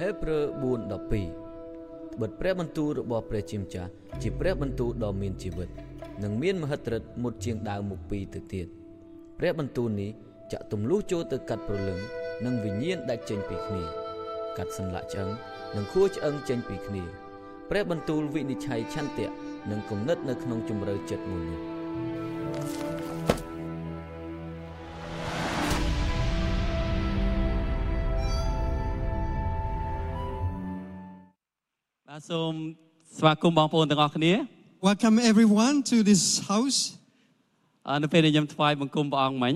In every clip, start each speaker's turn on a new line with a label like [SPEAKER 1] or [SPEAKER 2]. [SPEAKER 1] ហេព្រើរ4:12ត្បិតព្រះបន្ទូលរបស់ព្រះជាម្ចាស់ជាព្រះបន្ទូលដ៏មានជីវិត និងមានមហិទ្ធិឫទ្ធិមុតជាងដាវមុខពីរទៅទៀតព្រះបន្ទូលនេះចាក់ទម្លុះចូលទៅកាត់ព្រលឹងនិងវិញ្ញាណដែលចេញពីគ្នាកាត់សន្លាក់ឆ្អឹងនិងខួរឆ្អឹងចេញពីគ្នាព្រះបន្ទូលវិនិច្ឆ័យឆន្ទៈនិងគំនិតនៅក្នុងជំរឿចិត្តមនុស្ស
[SPEAKER 2] បាទសូមស្វាគមន៍បងប្អូនទាំងអស់គ្នា
[SPEAKER 3] Welcome everyone to this house.
[SPEAKER 2] អឺនៅពេលដែលខ្ញុំថ្វាយបង្គំព្រះអង្គមិញ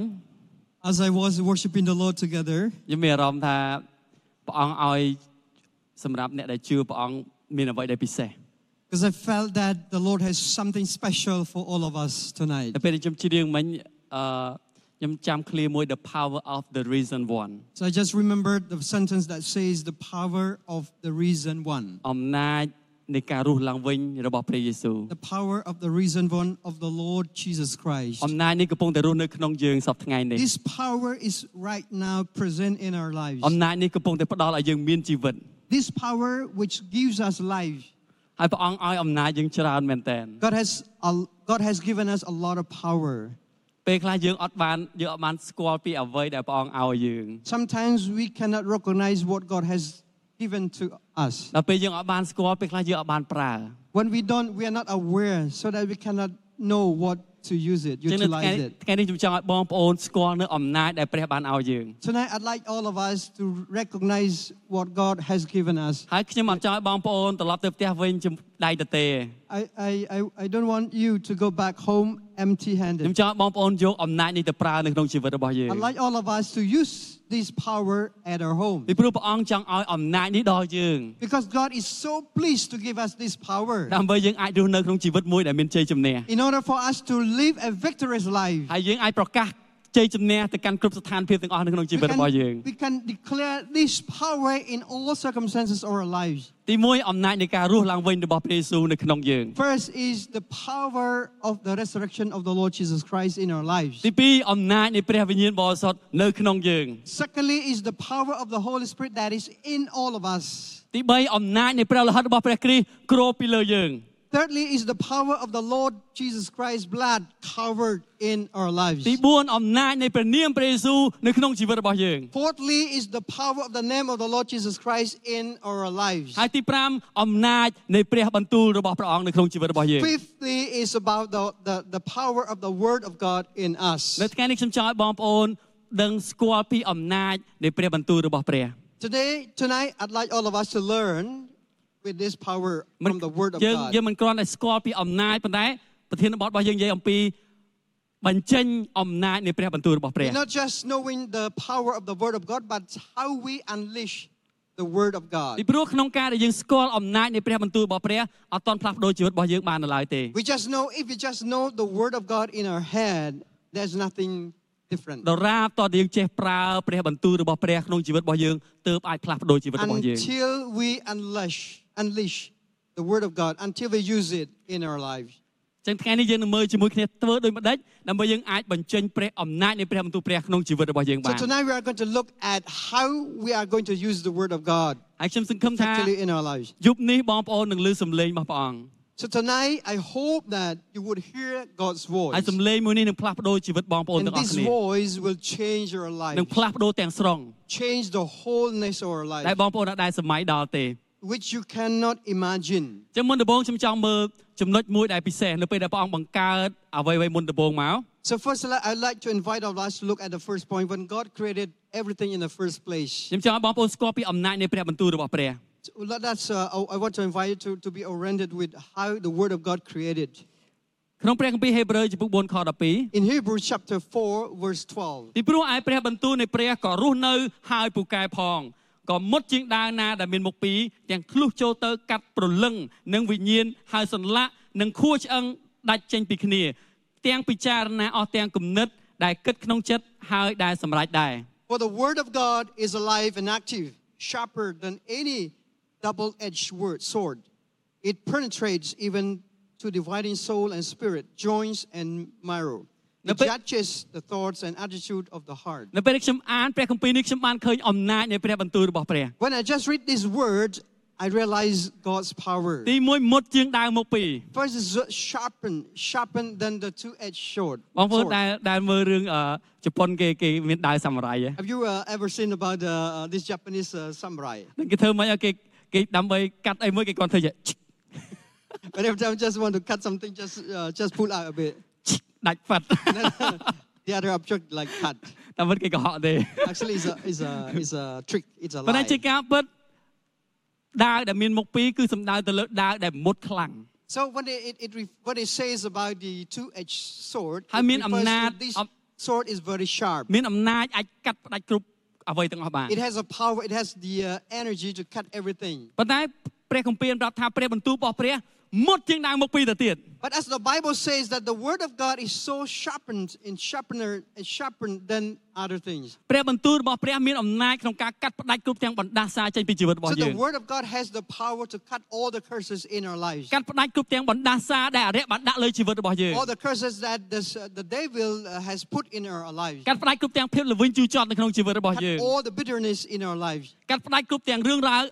[SPEAKER 3] As I was worshiping the Lord together,
[SPEAKER 2] ខ្ញុំមានអារម្មណ៍ថាព្រះអង្គឲ្យសម្រាប់អ្នកដែលជឿព្រះអង្គមានអ្វីដែលពិសេស
[SPEAKER 3] because I felt that the Lord has something special for all of us tonight.
[SPEAKER 2] នៅពេលដែលខ្ញុំច្រៀងមិញអឺខ្ញុំចាំឃ្លាមួយ The power of the reason one
[SPEAKER 3] So I just remembered the sentence that says, The power of the reason one.
[SPEAKER 2] អំណាចនៃការរស់ឡើងវិញរបស់ព្រះយេស៊ូវ
[SPEAKER 3] The power of the reason one of the Lord Jesus Christ.
[SPEAKER 2] អំណាចនេះកំពុងតែរស់នៅក្នុងយើងសប្តាហ៍ថ្ងៃនេះ
[SPEAKER 3] This power is right now present in our lives.
[SPEAKER 2] អំណាចនេះកំពុងតែផ្ដល់ឲ្យយើងមានជីវិត
[SPEAKER 3] This power which gives us life.
[SPEAKER 2] ហើយព្រះអង្គឲ្យអំណាចយើងច្រើនមែនតើ
[SPEAKER 3] God has, a, God has given us a lot of power.
[SPEAKER 2] ពេលខ្លះយើងអត់បានយើងអត់បានស្គាល់ពីអ្វីដែលព្រះអង្គឲ្យយើង
[SPEAKER 3] Sometimes we cannot recognize what God has given to us.
[SPEAKER 2] ដល់ពេលយើងអត់បានស្គាល់ពេលខ្លះយើងអត់បានប្រើ
[SPEAKER 3] when we don't we are not aware so that we cannot know what to use it
[SPEAKER 2] ចឹងនៅថ្ងៃ
[SPEAKER 3] utilize it
[SPEAKER 2] ថ្ងៃនេះខ្ញុំចង់ឲ្យបងប្អូនស្គាល់នៅអំណាចដែលព្រះបានឲ្យយើង
[SPEAKER 3] tonight i'd like all of us to recognize what god has given us
[SPEAKER 2] ហើយខ្ញុំអត់ចង់ឲ្យបងប្អូនត្រឡប់ទៅផ្ទះវិញជាមួយដៃទទេ
[SPEAKER 3] i i i, I don't want you to go back home empty
[SPEAKER 2] ខ្ញុំ
[SPEAKER 3] handed
[SPEAKER 2] ចង់ឲ្យបងប្អូនយកអំណាចនេះទៅប្រើនៅក្នុងជីវិតរបស់យើង
[SPEAKER 3] i'd like all of us to use this power at our home
[SPEAKER 2] ពីព្រោះព្រះអង្គចង់ឲ្យអំណាចនេះដល់យើង
[SPEAKER 3] because god is so pleased to give us this power
[SPEAKER 2] ដើម្បីយើងអាចរស់នៅក្នុងជីវិតមួយដែលមានជ័យជំនះ
[SPEAKER 3] in order for us to live a victorious life
[SPEAKER 2] ហើយយើងអាចប្រកាសជ័យជំនះទៅកាន់គ្រប់ស្ថានភាពទាំងអស់នៅក្នុងជី
[SPEAKER 3] we
[SPEAKER 2] វិតរបស់យើង
[SPEAKER 3] can, we can declare this power in all circumstances of our lives
[SPEAKER 2] ទីមួយអំណាចនៃការរស់ឡើងវិញរបស់ព្រះយេស៊ូវនៅក្នុងយើង
[SPEAKER 3] First is the power of the resurrection of the Lord Jesus Christ in our lives.
[SPEAKER 2] ទីពីរអំណាចនៃព្រះវិញ្ញាណបរិសុទ្ធនៅក្នុងយើង
[SPEAKER 3] Secondly is the power of the Holy Spirit that is in all of us.
[SPEAKER 2] ទី3អំណាចនៃព្រះលោហិតរបស់ព្រះគ្រីស្ទគ្របពីលើយើង
[SPEAKER 3] Thirdly is the power of the Lord Jesus Christ's blood covered in our lives.
[SPEAKER 2] ទី4អំណាចនៃព្រះនាមព្រះយេស៊ូវនៅក្នុងជីវិតរបស់យើង
[SPEAKER 3] Fourthly is the power of the name of the Lord Jesus Christ in our lives.
[SPEAKER 2] ហើយទី5អំណាចនៃព្រះបន្ទូលរបស់ព្រះអង្គនៅក្នុងជីវិតរបស់យើង
[SPEAKER 3] Fifthly is about the, the, the power of the Word of God in us.
[SPEAKER 2] នៅថ្ងៃនេះខ្ញុំចង់ឲ្យបងប្អូនដឹងស្គាល់ពីអំណាចនៃព្រះបន្ទូលរបស់ព្រះ
[SPEAKER 3] Today, tonight, I'd like all of us to learn with this power
[SPEAKER 2] មិន
[SPEAKER 3] from the Word of
[SPEAKER 2] យើង
[SPEAKER 3] God.
[SPEAKER 2] យើងមិនគ្រាន់តែស្គាល់ពីអំណាចប៉ុន្តែប្រធានបទរបស់យើងនិយាយអំពីបញ្ចេញអំណាចនៃព្រះបន្ទូលរបស់ព្រះ
[SPEAKER 3] It's not just knowing the power of the Word of God, but how we unleash the Word of
[SPEAKER 2] ពី
[SPEAKER 3] God.
[SPEAKER 2] ព្រោះក្នុងការដែលយើងស្គាល់អំណាចនៃព្រះបន្ទូលរបស់ព្រះអត់ទាន់ផ្លាស់ប្ដូរជីវិតរបស់យើងបាននៅឡើយទេ
[SPEAKER 3] We just know, if we just know the Word of God in our head, there's nothing different.
[SPEAKER 2] ដរាបតើយើងចេះប្រើព្រះបន្ទូលរបស់ព្រះក្នុងជីវិតរបស់យើងទើបអាចផ្លាស់ប្ដូរជីវិតរបស់យើង
[SPEAKER 3] Until we unleash, unleash the Word of God, until we use it in our lives.
[SPEAKER 2] អញ្ចឹងថ្ងៃនេះយើងនឹងមើលជាមួយគ្នាធ្វើដូចម្ដេចដើម្បីយើងអាចបញ្ចេញព្រះអំណាចនៃព្រះបន្ទូលព្រះក្នុងជីវិតរបស់យើងបា
[SPEAKER 3] So
[SPEAKER 2] ន
[SPEAKER 3] tonight we are going to look at how we are going to use the Word of God
[SPEAKER 2] ហើយខ្ញុំសង្ឃឹមថា
[SPEAKER 3] effectively in our lives.
[SPEAKER 2] យប់នេះបងប្អូននឹងលើសំឡេងរបស់ព្រះអង្គ
[SPEAKER 3] So tonight I hope that you would hear God's
[SPEAKER 2] ហើយ
[SPEAKER 3] voice.
[SPEAKER 2] សំឡេងមួយនេះនឹងផ្លាស់ប្ដូរជីវិតបងប្អូន
[SPEAKER 3] And
[SPEAKER 2] ទាំងអស់
[SPEAKER 3] this
[SPEAKER 2] គ្នា
[SPEAKER 3] voice will change your
[SPEAKER 2] នឹ
[SPEAKER 3] life.
[SPEAKER 2] ងផ្លាស់ប្ដូរទាំងស្រុង
[SPEAKER 3] change the wholeness of our
[SPEAKER 2] ដែល
[SPEAKER 3] life,
[SPEAKER 2] បងប្អូនអាចដែរសម័យដល់ទេ
[SPEAKER 3] which you cannot imagine.
[SPEAKER 2] ចឹងមុនដំបូងខ្ញុំចង់មើលចំណុចមួយដែលពិសេសនៅពេលដែលព្រះអង្គបង្កើតអ្វីៗមុនដំបូងមក
[SPEAKER 3] So first, I'd I'd like to invite all of us to look at the first point when God created everything in the first place.
[SPEAKER 2] ខ្ញុំចង់ឲ្យបងប្អូនស្គាល់ពីអំណាចនៃព្រះបន្ទូលរបស់ព្រះ
[SPEAKER 3] So let- That's, uh, I I want to invite you to, to be oriented with how the Word of God created.
[SPEAKER 2] ក្នុងព្រះគម្ពីរហេព្រើរចំពុក4ខ12
[SPEAKER 3] In Hebrews chapter 4, verse 12,
[SPEAKER 2] ពីព្រោះឯព្រះបន្ទូលនៃព្រះក៏រស់នៅហើយពូកែផងក៏មុតជាងដើរណាដែលមានមុខពីរទាំងធ្លុះចូលទៅកាត់ប្រលឹងនិងវិញ្ញាណហើយសន្លាក់និងខួរឆ្អឹងដាច់ចេញពីគ្នា ទាំងពិចារណាអស់ទាំងគំនិត ដែលគិតក្នុងចិត្តហើយដែលសម្រេចដែរ
[SPEAKER 3] For the Word of God is alive and active, sharper than any double edged sword. It penetrates even to dividing soul and spirit, joints and marrow, It
[SPEAKER 2] នៅពេល
[SPEAKER 3] judges the thoughts and attitude of the heart.
[SPEAKER 2] នៅពេលដែលខ្ញុំអានព្រះគម្ពីរនេះខ្ញុំបានឃើញអំណាចនៃព្រះបន្ទូលរបស់ព្រះ
[SPEAKER 3] When I just read this word, I realize God's power.
[SPEAKER 2] ទី1មុតជាងដាវមកពីរ
[SPEAKER 3] First is sharpen, sharpen than the two-edged sword.
[SPEAKER 2] បងប្អូន
[SPEAKER 3] sword.
[SPEAKER 2] ដែលដែលមើលរឿងអឺជប៉ុនគេគេមានដាវសាមរ៉ៃហ៎
[SPEAKER 3] Have you uh, ever seen about uh, uh, this Japanese uh, samurai?
[SPEAKER 2] នឹងគេធ្វើមិនឲ្យគេគេដើម្បីកាត់អីមួយគេគាត់ធ្វើជា
[SPEAKER 3] But every time I just want to cut something, just uh, just pull out a bit.
[SPEAKER 2] ដាច់ ប៉ាត់
[SPEAKER 3] Then, the other object like cut.
[SPEAKER 2] តែមិនគេកុហកទេ
[SPEAKER 3] Actually, it's a, it's a, it's a trick. It's a
[SPEAKER 2] ប៉ុន្តែ
[SPEAKER 3] lie.
[SPEAKER 2] ជាការពិតដាវដែលមានមុខពីរគឺសំដៅទៅលើដាវដែលមុតខ្លាំង
[SPEAKER 3] So when it, it, it ref, what it says about the two-edged sword,
[SPEAKER 2] I
[SPEAKER 3] it
[SPEAKER 2] mean, I'm
[SPEAKER 3] refers to
[SPEAKER 2] not-
[SPEAKER 3] this
[SPEAKER 2] I'm-
[SPEAKER 3] sword is very sharp.
[SPEAKER 2] មានអំណាចអាចកាត់ផ្ដាច់គ្រប់អ្វីទាំងអស់បាន
[SPEAKER 3] It has a power. It has the uh, energy to cut everything.
[SPEAKER 2] ប៉ុន្តែព្រះគម្ពីរប្រាប់ថាព្រះបន្ទូលរបស់ព្រះមុតជាងដាវមុខពីរទៅទៀត
[SPEAKER 3] But as the Bible says that the word of God is so sharpened and sharpener and sharpened than other things.
[SPEAKER 2] ព្រះបន្ទូលរបស់ព្រះមានអំណាចក្នុងការកាត់ផ្ដាច់គ្រប់ទាំងបណ្ដាសាចេញពីជីវិតរបស់
[SPEAKER 3] So
[SPEAKER 2] យើង
[SPEAKER 3] the word of God has the power to cut all the curses in our lives.
[SPEAKER 2] កាត់ផ្ដាច់គ្រប់ទាំងបណ្ដាសាដែលអរិយបានដាក់លើជីវិតរបស់យើង
[SPEAKER 3] All the curses that this, uh, the devil uh, has put in our lives.
[SPEAKER 2] កាត់ផ្ដាច់គ្រប់ទាំងភាពល្វីងជូរចត់នៅក្នុងជីវិតរបស់
[SPEAKER 3] Cut
[SPEAKER 2] យើង
[SPEAKER 3] all the bitterness in our lives.
[SPEAKER 2] កាត់ផ្ដាច់គ្រប់ទាំងរឿងរ៉ាវ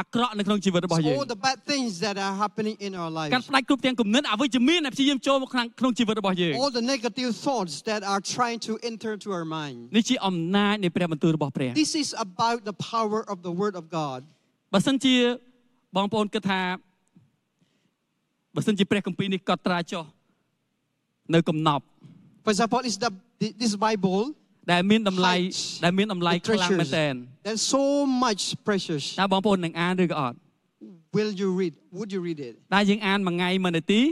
[SPEAKER 2] អាក្រក់នៅក្នុងជីវិតរបស់យើង
[SPEAKER 3] All the bad things that are happening in our
[SPEAKER 2] កាត់
[SPEAKER 3] lives.
[SPEAKER 2] ផ្ដាច់គ្រប់ទាំងគំនិតអវិជ្ជមានដែលព្យាយាមចូលមកក្នុងក្នុងជីវិតរបស់យើង
[SPEAKER 3] All the negative thoughts that are trying to enter to our mind.
[SPEAKER 2] នេះជាអំណាចនៃព្រះបន្ទូលរបស់ព្រះ
[SPEAKER 3] This is about the power of the word of God.
[SPEAKER 2] បើសិនជាបងប្អូនគិតថាបើសិនជាព្រះគម្ពីរនេះកត់ត្រាចុះនៅកំណប់
[SPEAKER 3] For example, is the this Bible
[SPEAKER 2] ដែលមានតម្លៃ
[SPEAKER 3] Heights.
[SPEAKER 2] ដែលមានតម្លៃ
[SPEAKER 3] the
[SPEAKER 2] ខ្លាំងមែន
[SPEAKER 3] treasures.
[SPEAKER 2] ទែន
[SPEAKER 3] There's so much precious.
[SPEAKER 2] តើបងប្អូននឹងអានឬក៏អត់
[SPEAKER 3] Will you read? Would you read it?
[SPEAKER 2] តើយើងអានមួយថ្ងៃមួយនាទី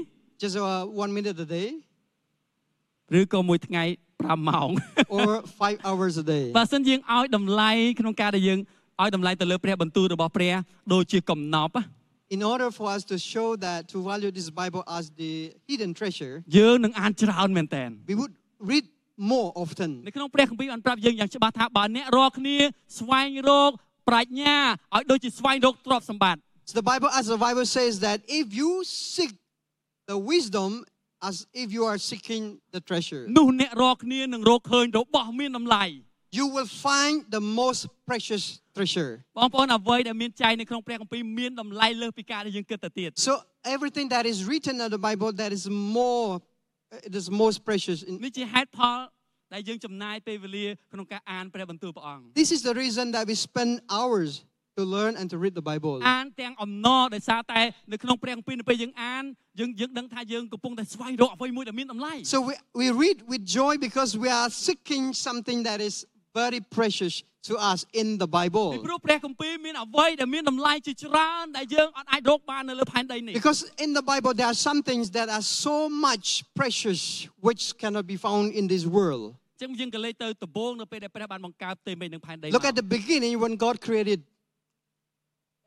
[SPEAKER 3] Just uh, one minute a day
[SPEAKER 2] ឬក៏មួយថ្ងៃ5ម៉ោង
[SPEAKER 3] or five hours a day?
[SPEAKER 2] បើសិនយើងឲ្យតម្លៃក្នុងការដែលយើងឲ្យតម្លៃទៅលើព្រះបន្ទូលរបស់ព្រះដូចជាកំណប់
[SPEAKER 3] In order for us to show that, to value this Bible as the hidden treasure,
[SPEAKER 2] យើងនឹងអានច្រើនមែនតើ
[SPEAKER 3] we would read more often.
[SPEAKER 2] នៅក្នុងព្រះគម្ពីរបានប្រាប់យើងយ៉ាងច្បាស់ថាបើអ្នករាល់គ្នាស្វែងរកប្រាជ្ញាឲ្យដូចជាស្វែងរកទ្រព្យសម្បត្តិ
[SPEAKER 3] So the Bible, as the Bible says, that if you seek the wisdom, as if you are seeking the treasure,
[SPEAKER 2] នោះអ្នករាល់គ្នានឹងរកឃើញរបស់មានតម្លៃ
[SPEAKER 3] you will find the most precious treasure.
[SPEAKER 2] បងប្អូនអ្វីដែលមានចែងនៅក្នុងព្រះគម្ពីរមានតម្លៃលើសពីការដែលយើងគិតទៅទៀត
[SPEAKER 3] So everything that is written in the Bible that is more, it is most precious. In,
[SPEAKER 2] នេះជាហេតុផលដែលយើងចំណាយពេលវេលាក្នុងការអានព្រះបន្ទូលព្រះអង្គ
[SPEAKER 3] This is the reason that we spend hours to learn and to read the Bible.
[SPEAKER 2] អានទាំងអំណរដោយសារតែនៅក្នុងព្រះគម្ពីរនៅពេលយើងអានយើងយើងដឹងថាយើងកំពុងតែស្វែងរកអ្វីមួយដែលមានតម្លៃ
[SPEAKER 3] So we, we read with joy because we are seeking something that is very precious to us in the
[SPEAKER 2] ពី
[SPEAKER 3] Bible.
[SPEAKER 2] ព្រោះព្រះគម្ពីរមានអ្វីដែលមានតម្លៃជាច្រើនដែលយើងអត់អាចរកបាននៅលើផែនដីនេះ
[SPEAKER 3] Because in the Bible, there are some things that are so much precious which cannot be found in this world.
[SPEAKER 2] អញ្ចឹងយើងក៏លេខទៅដំបូងនៅពេលដែលព្រះបានបង្កើតផ្ទៃមេឃនិងផែនដីមក
[SPEAKER 3] Look at the beginning when God created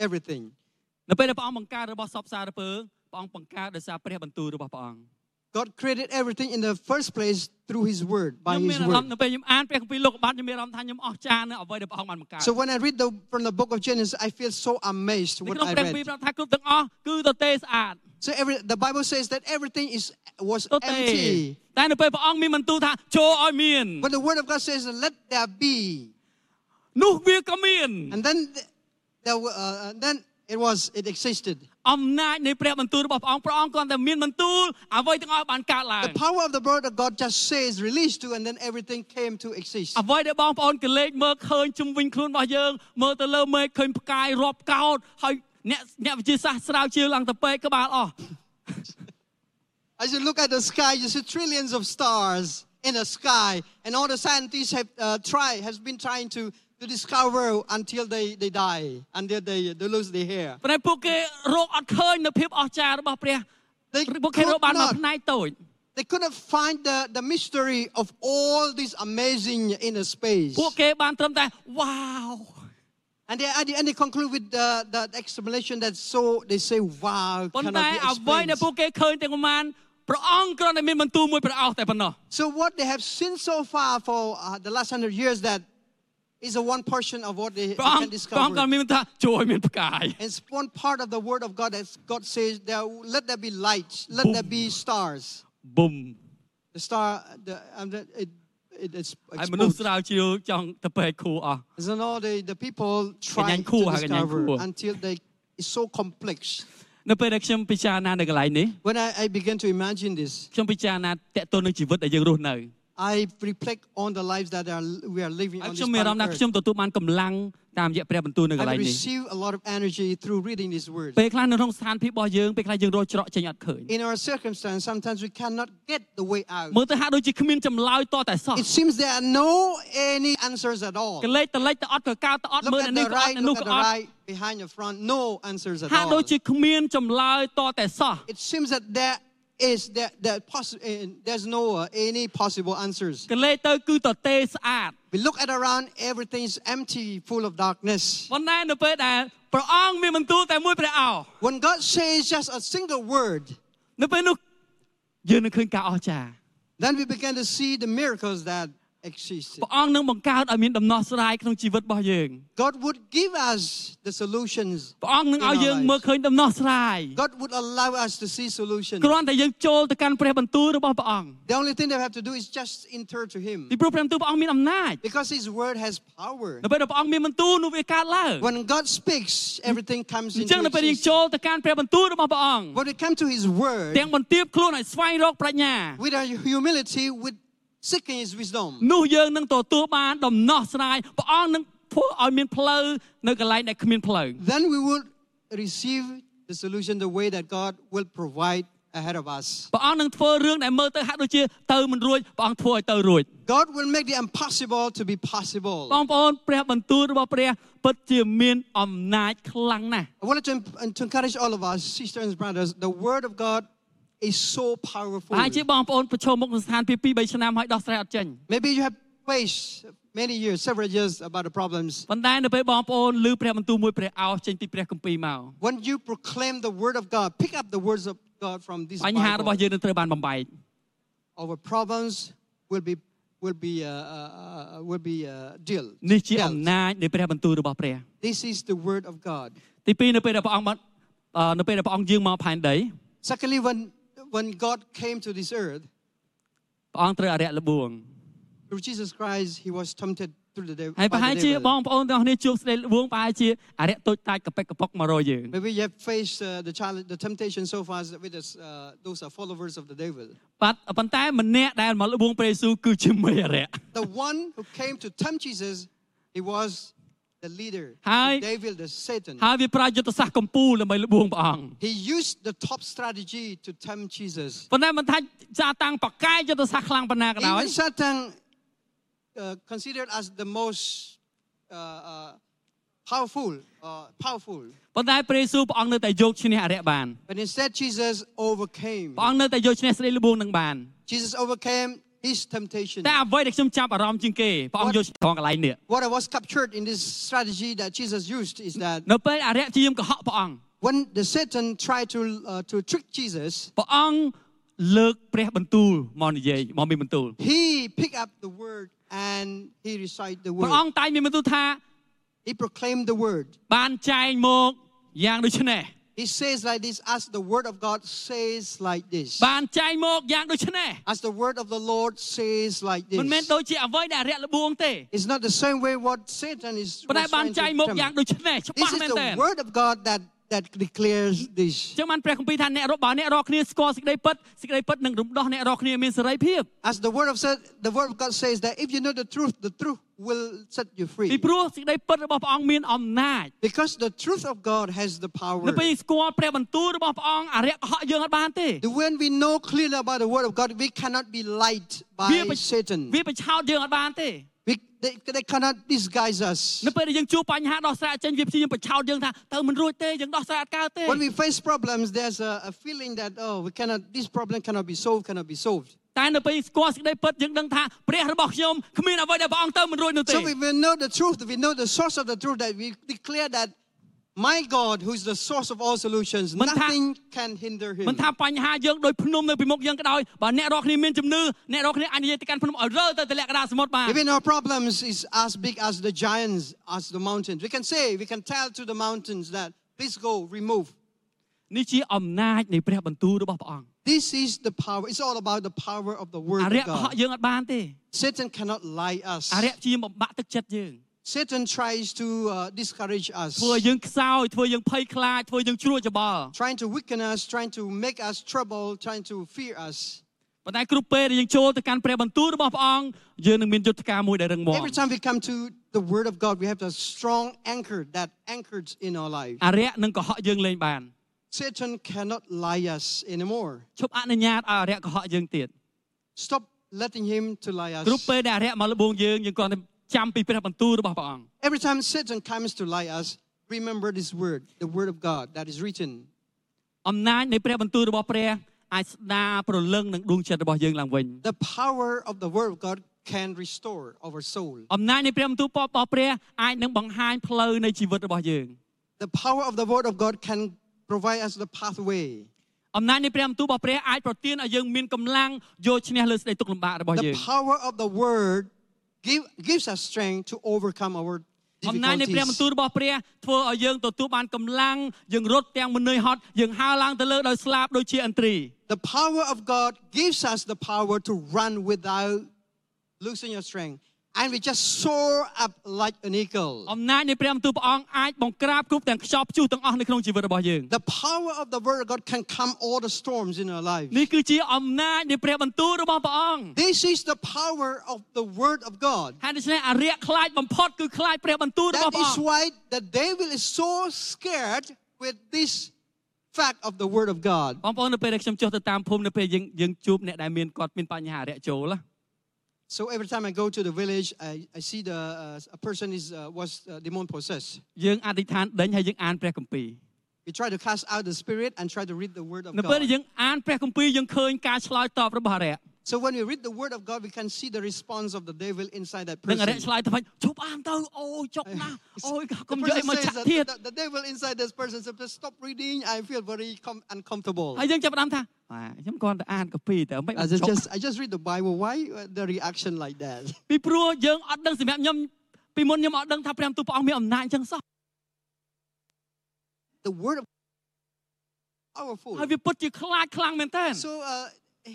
[SPEAKER 3] everything.
[SPEAKER 2] នៅពេលដែលព្រះអង្គបង្កើតរបស់សពសារពើព្រះអង្គបង្កើតដោយសារព្រះបន្ទូលរបស់ព្រះអង្គ
[SPEAKER 3] God created everything in the first place through His Word, by
[SPEAKER 2] ខ្ញុំមាន
[SPEAKER 3] His
[SPEAKER 2] អារម្មណ៍
[SPEAKER 3] Word.
[SPEAKER 2] នៅពេលខ្ញុំអានព្រះគម្ពីរលោកុបាទខ្ញុំមានអារម្មណ៍ថាខ្ញុំអស្ចារ្យនៅអ្វីដែលព្រះអង្គបានបង្កើត
[SPEAKER 3] So when I read the, from the book of Genesis, I feel so amazed
[SPEAKER 2] នៅ
[SPEAKER 3] what
[SPEAKER 2] ក្នុង
[SPEAKER 3] I
[SPEAKER 2] ព្រះគម្ពី
[SPEAKER 3] read.
[SPEAKER 2] រប្រាប់ថាគ្រប់ទាំងអស់គឺទទេស្អាត
[SPEAKER 3] So every the Bible says that everything is was
[SPEAKER 2] ទទេ
[SPEAKER 3] empty.
[SPEAKER 2] តែនៅពេលព្រះអង្គមានបន្ទូលថាចូលឲ្យមាន
[SPEAKER 3] But the word of God says, "Let there be,"
[SPEAKER 2] នោះវាក៏មាន
[SPEAKER 3] and then th- there were, uh, and then it was it existed.
[SPEAKER 2] អំណាចនៃព្រះបន្ទូលរបស់ព្រះអង្គព្រះអង្គគ្រាន់តែមានបន្ទូលអ្វីទាំងអស់បានកើតឡើង
[SPEAKER 3] The power of the word of God just says, "Release to," and then everything came to exist.
[SPEAKER 2] អ្វីដែលបងប្អូនកលេចមើលឃើញជំវិញខ្លួនរបស់យើងមើលទៅលើមេឃឃើញផ្កាយរាប់កោតហើយអ្នកអ្នកវិទ្យាសាស្ត្រស្រាវជ្រាវឡើងទៅពេកក្បាលអស់
[SPEAKER 3] As you look at the sky, you see trillions of stars in the sky, and all the scientists have uh, tried, has been trying to to discover until they they die, until they they lose their hair.
[SPEAKER 2] ប៉ុន្តែពួកគេរកអត់ឃើញនៅភាពអស្ចារ្យរបស់ព្រះ
[SPEAKER 3] They
[SPEAKER 2] ពួកគេរក
[SPEAKER 3] could
[SPEAKER 2] បានមួយ
[SPEAKER 3] not
[SPEAKER 2] ផ្នែកតូច
[SPEAKER 3] They couldn't find the, the mystery of all this amazing inner space.
[SPEAKER 2] ពួកគេបានត្រឹមតែវ៉ាវ
[SPEAKER 3] And they, at the end, they conclude with the, the explanation that so they say, wow,
[SPEAKER 2] ប៉ុន្
[SPEAKER 3] cannot
[SPEAKER 2] តែ
[SPEAKER 3] be
[SPEAKER 2] អ្វីដែលពួក
[SPEAKER 3] explained.
[SPEAKER 2] គេឃើញទាំងប៉ុន្មានព្រះអង្គគ្រាន់តែមានបន្ទូលមួយព្រះអស់តែប៉ុណ្ណោះ
[SPEAKER 3] So what they have seen so far for uh, the last hundred years that is a one portion of what they, they
[SPEAKER 2] ព្រះអង្គ
[SPEAKER 3] can
[SPEAKER 2] ព្រះអង្គគ្រាន់
[SPEAKER 3] discover.
[SPEAKER 2] តែមានបន្ទូលថាជួយឲ្យមានផ្កាយ
[SPEAKER 3] It's one part of the word of God that God says, there, let there be light, let there be stars.
[SPEAKER 2] ប៊ុំ
[SPEAKER 3] The star, the, and the, it, it, it's
[SPEAKER 2] ហើយមនុស្ស
[SPEAKER 3] exposed.
[SPEAKER 2] ស្រាវជ្រាវចង់ទៅពេកគ្រូអស់
[SPEAKER 3] And all the, the people trying
[SPEAKER 2] cool,
[SPEAKER 3] to
[SPEAKER 2] Hagen Yang
[SPEAKER 3] discover
[SPEAKER 2] cool.
[SPEAKER 3] until they, it's so complex.
[SPEAKER 2] នៅពេលដែលខ្ញុំពិចារណានៅកន្លែងនេះ
[SPEAKER 3] When I, I began to imagine this,
[SPEAKER 2] ខ្ញុំពិចារណាតកតូននឹងជីវិតដែលយើងរស់នៅ
[SPEAKER 3] I reflect on the lives that are, we are living
[SPEAKER 2] ហើយ
[SPEAKER 3] on
[SPEAKER 2] ខ្ញុំ
[SPEAKER 3] this
[SPEAKER 2] មានអារម្មណ៍
[SPEAKER 3] planet
[SPEAKER 2] ថា
[SPEAKER 3] Earth.
[SPEAKER 2] ខ្ញុំទទួលបានកម្លាំងតាមរយៈព្រះបន្ទូលនៅកន្លែ
[SPEAKER 3] I
[SPEAKER 2] ងនេះ
[SPEAKER 3] receive a lot of energy through reading these words.
[SPEAKER 2] ពេលខ្លះនៅក្នុងស្ថានភាពរបស់យើងពេលខ្លះយើងរត់ច្រកចេញអត់ឃើញ
[SPEAKER 3] In our circumstance, sometimes we cannot get the way out.
[SPEAKER 2] មើលទៅហាក់ដូចជាគ្មានចម្លើយតតែសោះ
[SPEAKER 3] It seems there are no any answers at all.
[SPEAKER 2] កលេចតលេចតអត់កកើតតអត់មើល
[SPEAKER 3] Look
[SPEAKER 2] នៅ
[SPEAKER 3] at
[SPEAKER 2] នេះ
[SPEAKER 3] the
[SPEAKER 2] ក៏អត់
[SPEAKER 3] right,
[SPEAKER 2] នៅនោះ
[SPEAKER 3] look at
[SPEAKER 2] ក៏
[SPEAKER 3] the
[SPEAKER 2] អត់
[SPEAKER 3] right, behind the front, no answers at
[SPEAKER 2] ហាក់ដូច
[SPEAKER 3] all.
[SPEAKER 2] ជាគ្មានចម្លើយតតែសោះ
[SPEAKER 3] It seems that there is that that possi- eh, there's no uh, any possible answers.
[SPEAKER 2] កលេចទៅគឺតទេស្អាត
[SPEAKER 3] We look at around, everything's empty, full of darkness.
[SPEAKER 2] ប៉ុន្តែនៅពេលដែលព្រះអង្គមានបន្ទូលតែមួយព្រះអោរ
[SPEAKER 3] When God says just a single word,
[SPEAKER 2] នៅពេលនោះយើងនឹងឃើញការអស្ចារ្យ
[SPEAKER 3] then we begin to see the miracles that exist.
[SPEAKER 2] ព្រះអង្គនឹងបង្កើតឲ្យមានដំណោះស្រាយក្នុងជីវិតរបស់យើង
[SPEAKER 3] God would give us the solutions.
[SPEAKER 2] ព្រះអង្គនឹងឲ្យយើង
[SPEAKER 3] In our lives.
[SPEAKER 2] មើលឃើញដំណោះស្រាយ
[SPEAKER 3] God would allow us to see solutions.
[SPEAKER 2] គ្រាន់តែយើងចូលទៅកាន់ព្រះបន្ទូលរបស់ព្រះអង្គ
[SPEAKER 3] The only thing that we have to do is just enter to Him.
[SPEAKER 2] ពីព្រោះព្រះបន្ទូលព្រះអង្គមានអំណាច
[SPEAKER 3] Because His word has power.
[SPEAKER 2] នៅពេលដែលព្រះអង្គមានបន្ទូលនោះវាកើតឡើង
[SPEAKER 3] When God speaks, everything comes
[SPEAKER 2] អញ្ចឹង
[SPEAKER 3] into
[SPEAKER 2] នៅពេលយើង
[SPEAKER 3] existence.
[SPEAKER 2] ចូលទៅកាន់ព្រះបន្ទូលរបស់ព្រះអង្គ
[SPEAKER 3] When we come to His word,
[SPEAKER 2] ទាំងបន្ទាបខ្លួនឲ្យស្វែងរកប្រាជ្ញា
[SPEAKER 3] with our humility, with seeking His wisdom,
[SPEAKER 2] នោះយើងនឹងទទួលបានដំណោះស្រាយព្រះអង្គនឹងធ្វើឲ្យមានផ្លូវនៅកន្លែងដែលគ្មានផ្លូវ
[SPEAKER 3] then we will receive the solution the way that God will provide ahead of us.
[SPEAKER 2] ព្រះអង្គនឹងធ្វើរឿងដែលមើលទៅហាក់ដូចជាទៅមិនរួចព្រះអង្គធ្វើឲ្យទៅរួច
[SPEAKER 3] God will make the impossible to be possible.
[SPEAKER 2] បងប្អូនព្រះបន្ទូលរបស់ព្រះពិតជាមានអំណាចខ្លាំងណាស់
[SPEAKER 3] I wanted to, em- to encourage all of us, sisters and brothers, the word of God is so powerful.
[SPEAKER 2] ប្រហែលជាបងប្អូនប្រឈមមុខនឹងស្ថានភាព2 3ឆ្នាំហើយដោះស្រាយអត់ចេញ
[SPEAKER 3] Maybe you have faced many years, several years about the problems.
[SPEAKER 2] ប៉ុន្តែនៅពេលបងប្អូនឮព្រះបន្ទូលមួយព្រះអោសចេញពីព្រះគម្ពីរមក
[SPEAKER 3] When you proclaim the word of God, pick up the words of God from this
[SPEAKER 2] បញ្ហា
[SPEAKER 3] Bible.
[SPEAKER 2] របស់យើងនឹងត្រូវបានបំបែក
[SPEAKER 3] our problems will be will be uh, uh, uh, will be uh, dealt.
[SPEAKER 2] នេះជាអំ
[SPEAKER 3] dealt.
[SPEAKER 2] ណាចនៃព្រះបន្ទូលរបស់ព្រះ
[SPEAKER 3] This is the word of God.
[SPEAKER 2] ទី2នៅពេលដែលព្រះអង្គបានអឺនៅពេលដែលព្រះអង្គយាងមកផែនដី
[SPEAKER 3] Secondly, when when God came to this earth
[SPEAKER 2] ព្រះអង្គត្រូវអរិយល្បួង
[SPEAKER 3] through Jesus Christ, He was tempted through the devil.
[SPEAKER 2] ហើយប្រហែ
[SPEAKER 3] by
[SPEAKER 2] ល
[SPEAKER 3] the
[SPEAKER 2] ជាប
[SPEAKER 3] devil.
[SPEAKER 2] ងប្អូនទាំងអស់គ្នាជួបស្ដីល្បួងប្រហែលជាអរិយតូចតាចកប៉ិកកប៉ុកមករកយើង
[SPEAKER 3] Maybe you have faced uh, the challenge, the temptation so far as with us, uh, those are followers of the devil.
[SPEAKER 2] បាទប៉ុន្តែម្នាក់ដែលមកល្បួងព្រះយេស៊ូវគឺជាមេអរិយ
[SPEAKER 3] The one who came to tempt Jesus, he was the leader,
[SPEAKER 2] Hi.
[SPEAKER 3] the devil, the Satan.
[SPEAKER 2] ហើយវាប្រើយុទ្ធសាស្ត្រកម្ពុជាដើម្បីល្បួងព្រះអង្គ
[SPEAKER 3] He used the top strategy to tempt Jesus.
[SPEAKER 2] ប៉ុន្តែមិនថាសាតាំងបកកាយយុទ្ធសាស្ត្រខ្លាំងប៉ុណ្ណាក៏ដោយ
[SPEAKER 3] Even Satan, uh, considered as the most uh, uh, powerful, uh, powerful.
[SPEAKER 2] ប៉ុន្តែព្រះយេស៊ូវព្រះអង្គនៅតែយកឈ្នះអរិយបាន
[SPEAKER 3] But instead, Jesus overcame.
[SPEAKER 2] ព្រះអង្គនៅតែយកឈ្នះស្ដីល្បួងនឹងបាន
[SPEAKER 3] Jesus overcame his temptation.
[SPEAKER 2] តែអ្វីដែលខ្ញុំចាប់អារម្មណ៍ជាងគេព្រះអង្គយកឆ្លងកន្លែងនេះ
[SPEAKER 3] What I was captured in this strategy that Jesus used is that
[SPEAKER 2] នៅពេលអរិយជាយមកហកព្រះអង្គ
[SPEAKER 3] when the Satan tried to uh, to trick Jesus,
[SPEAKER 2] ព្រះអង្គលើកព្រះបន្ទូលមកនិយាយមកមានបន្ទូល
[SPEAKER 3] he picked up the word and he recited the
[SPEAKER 2] ព្រះអ
[SPEAKER 3] word.
[SPEAKER 2] ង្គតែងមានបន្ទូលថា
[SPEAKER 3] He proclaimed the word.
[SPEAKER 2] បានចែងមកយ៉ាងដូចនេះ
[SPEAKER 3] He says like this, as the word of God says like this,
[SPEAKER 2] បានចែងមកយ៉ាងដូចនេះ
[SPEAKER 3] as the word of the Lord says like
[SPEAKER 2] មិនមែន
[SPEAKER 3] this.
[SPEAKER 2] ដូចជាអ្វីដែលអរិយល្បួងទេ
[SPEAKER 3] It's not the same way what Satan is.
[SPEAKER 2] ប៉ុន្តែ
[SPEAKER 3] was
[SPEAKER 2] បាន
[SPEAKER 3] trying to
[SPEAKER 2] ចែងមកយ៉ាង
[SPEAKER 3] attempt.
[SPEAKER 2] ដូចនេះច្បា
[SPEAKER 3] This
[SPEAKER 2] ស់មែន
[SPEAKER 3] is
[SPEAKER 2] ទែ
[SPEAKER 3] the
[SPEAKER 2] ន
[SPEAKER 3] word of God that, that declares this.
[SPEAKER 2] ចឹងបានព្រះគម្ពីរថាអ្នករកបើអ្នករកគ្នាស្គាល់សេចក្តីពិតសេចក្តីពិតនឹងរំដោះអ្នករកគ្នាមានសេរីភាព
[SPEAKER 3] As the word of said, the word of God says that if you know the truth, the truth will set you
[SPEAKER 2] ពី
[SPEAKER 3] free.
[SPEAKER 2] ព្រោះសេចក្តីពិតរបស់ព្រះអង្គមានអំណាច
[SPEAKER 3] Because the truth of God has the
[SPEAKER 2] នៅ
[SPEAKER 3] power.
[SPEAKER 2] ពេលស្គាល់ព្រះបន្ទូលរបស់ព្រះអង្គអរិយកុហកយើងអត់បានទេ
[SPEAKER 3] The- When we know clearly about the word of God, we cannot be lied
[SPEAKER 2] វា
[SPEAKER 3] by
[SPEAKER 2] បញ្
[SPEAKER 3] Satan.
[SPEAKER 2] វាបញ្ឆោតយើងអត់បានទេ
[SPEAKER 3] We, they, they cannot disguise us.
[SPEAKER 2] នៅពេលដែលយើងជួបបញ្ហាដោះស្រាយអត់ចេញវាព្យាយាមបញ្ឆោតយើងថាទៅមិនរួចទេយើងដោះស្រាយអត់កើតទេ
[SPEAKER 3] When we face problems, there's a, a feeling that oh, we cannot. This problem cannot be solved. Cannot be solved.
[SPEAKER 2] តែនៅពេលស្គាល់សេចក្តីពិតយើងដឹងថាព្រះរបស់ខ្ញុំគ្មានអ្វីដែលព្រះអង្គទៅមិនរួចនោះទេ
[SPEAKER 3] So we will know the truth. We know the source of the truth that we declare that my God, who is the source of all solutions,
[SPEAKER 2] Mình tha-
[SPEAKER 3] nothing can hinder
[SPEAKER 2] មិន
[SPEAKER 3] him.
[SPEAKER 2] ថាបញ្ហាយើងដោយភ្នំនៅពីមុខយើងក៏ដោយបើអ្នករកគ្នាមានជំនឿអ្នករកគ្នាអាចនិយាយទៅកាន់ភ្នំឲ្យរើទៅទម្លាក់កណ្ដាលសមុទ្របាន
[SPEAKER 3] Even our problems is as big as the giants, as the mountains. We can say, we can tell to the mountains that please go, remove.
[SPEAKER 2] នេះជាអំណាចនៃព្រះបន្ទូលរបស់ព្រះអង្គ
[SPEAKER 3] This is the power. It's all about the power of the
[SPEAKER 2] អ
[SPEAKER 3] word
[SPEAKER 2] រិយ
[SPEAKER 3] of
[SPEAKER 2] កុហក
[SPEAKER 3] God.
[SPEAKER 2] យើងអត់បានទេ
[SPEAKER 3] Satan cannot lie
[SPEAKER 2] អ
[SPEAKER 3] us.
[SPEAKER 2] រិយជាបំបាក់ទឹកចិត្តយើង
[SPEAKER 3] Satan tries to uh, discourage us,
[SPEAKER 2] ធ្វើឲ្យយើងខ្សោយធ្វើយើងភ័យខ្លាចធ្វើយើងជ្រួចច្របល់
[SPEAKER 3] trying to weaken us, trying to make us trouble, trying to fear us.
[SPEAKER 2] ប៉ុន្តែគ្រប់ពេលដែលយើងចូលទៅកាន់ព្រះបន្ទូលរបស់ព្រះអង្គយើងនឹងមានយុទ្ធការមួយដែលរឹងមាំ
[SPEAKER 3] Every time we come to the word of God, we have a strong anchor that anchors in our life.
[SPEAKER 2] អរិយនឹងកុហកយើងលែងបាន
[SPEAKER 3] Satan cannot lie us anymore.
[SPEAKER 2] ឈប់អនុញ្ញាតឲ្យអរិយកុហកយើងទៀត
[SPEAKER 3] Stop letting him to lie
[SPEAKER 2] គ្រប់
[SPEAKER 3] us.
[SPEAKER 2] ពេលដែលអរិយមកលបងយើងយើងគ្រាន់តែចាំពីព្រះបន្ទូលរបស់ព្រះអង្គ
[SPEAKER 3] Every time Satan comes to lie us, remember this word, the word of God that is written.
[SPEAKER 2] អំណាចនៃព្រះបន្ទូលរបស់ព្រះអាចស្ដារប្រលឹងនឹងដួងចិត្តរបស់យើងឡើងវិញ
[SPEAKER 3] The power of the word of God can restore our soul.
[SPEAKER 2] អំណាចនៃព្រះបន្ទូលរបស់ព្រះអាចនឹងបង្ហាញផ្លូវនៃជីវិតរបស់យើង
[SPEAKER 3] The power of the word of God can provide us the pathway.
[SPEAKER 2] អំណាចនៃព្រះបន្ទូលរបស់ព្រះអាចប្រទានឲ្យយើងមានកម្លាំងយកឈ្នះលើសេចក្តីទុក្ខលំបាករបស់យើ
[SPEAKER 3] The
[SPEAKER 2] ង
[SPEAKER 3] power of the word give, gives us strength to overcome our
[SPEAKER 2] អំណាចនៃព្រះបន្ទូលរប
[SPEAKER 3] difficulties.
[SPEAKER 2] ស់ព្រះធ្វើឲ្យយើងទទួលបានកម្លាំងយើងរត់ទាំងមនុយហត់យើងហើរឡើងទៅលើដោយស្លាបដូចជាឥន្ទ្រី
[SPEAKER 3] The power of God gives us the power to run without losing your strength. And we just soar up like an
[SPEAKER 2] អំ
[SPEAKER 3] eagle.
[SPEAKER 2] ណាចនៃព្រះបន្ទូលព្រះអង្គអាចបង្ក្រាបគ្រប់ទាំងខ្យល់ព្យុះទាំងអស់នៅក្នុងជីវិតរបស់យើង
[SPEAKER 3] The power of the word of God can calm all the storms in our life.
[SPEAKER 2] នេះគឺជាអំណាចនៃព្រះបន្ទូលរបស់ព្រះអង្គ
[SPEAKER 3] This is the power of the word of God.
[SPEAKER 2] ហើយដូច្នេះអរិយខ្លាចបំផុតគឺខ្លាចព្រះបន្ទូលរបស់
[SPEAKER 3] That
[SPEAKER 2] ព្រះអ
[SPEAKER 3] is
[SPEAKER 2] ង្គ
[SPEAKER 3] why the devil is so scared with this fact of the word of God.
[SPEAKER 2] បងប្អូននៅពេលដែលខ្ញុំចុះទៅតាមភូមិនៅពេលយើងយើងជួបអ្នកដែលមានគាត់មានបញ្ហាអរិយចូលណា
[SPEAKER 3] So every time I go to the village, I, I see the uh, a person is uh, was uh, demon possessed.
[SPEAKER 2] យើងអធិដ្ឋានដេញហើយយើងអានព្រះគម្ពីរ
[SPEAKER 3] We try to cast out the spirit and try to read the word of
[SPEAKER 2] នៅពេលដែល
[SPEAKER 3] God.
[SPEAKER 2] យើងអានព្រះគម្ពីរយើងឃើញការឆ្លើយតបរបស់អរិយ
[SPEAKER 3] So when we read the word of God, we can see the response of the devil inside that
[SPEAKER 2] នឹងអរិយ
[SPEAKER 3] person.
[SPEAKER 2] ឆ្លើយទៅវិញឈប់អានទៅអូយចុក ណាស់អូយ
[SPEAKER 3] The
[SPEAKER 2] កុំយកឲ្យ
[SPEAKER 3] person
[SPEAKER 2] មក
[SPEAKER 3] says
[SPEAKER 2] ចាក់
[SPEAKER 3] that
[SPEAKER 2] ទៀត
[SPEAKER 3] the, the devil inside this person says, "Just stop reading. I feel very com- uncomfortable.
[SPEAKER 2] ហើយយើងចាប់ផ្ដើមថាអាខ្ញុំគ្រាន់តែអានគម្ពីរតែមិន
[SPEAKER 3] I
[SPEAKER 2] ចុ
[SPEAKER 3] just,
[SPEAKER 2] ក
[SPEAKER 3] just I just read the Bible. Why uh, the reaction like that?
[SPEAKER 2] ពីព្រោះយើងអត់ដឹងសម្រាប់ខ្ញុំពីមុនខ្ញុំអត់ដឹងថាព្រះបន្ទូលព្រះអង្គមានអំណាចអញ្ចឹងសោះ
[SPEAKER 3] The word of powerful.
[SPEAKER 2] ហើយវាពិតជាខ្លាចខ្លាំងមែនតើ
[SPEAKER 3] So uh,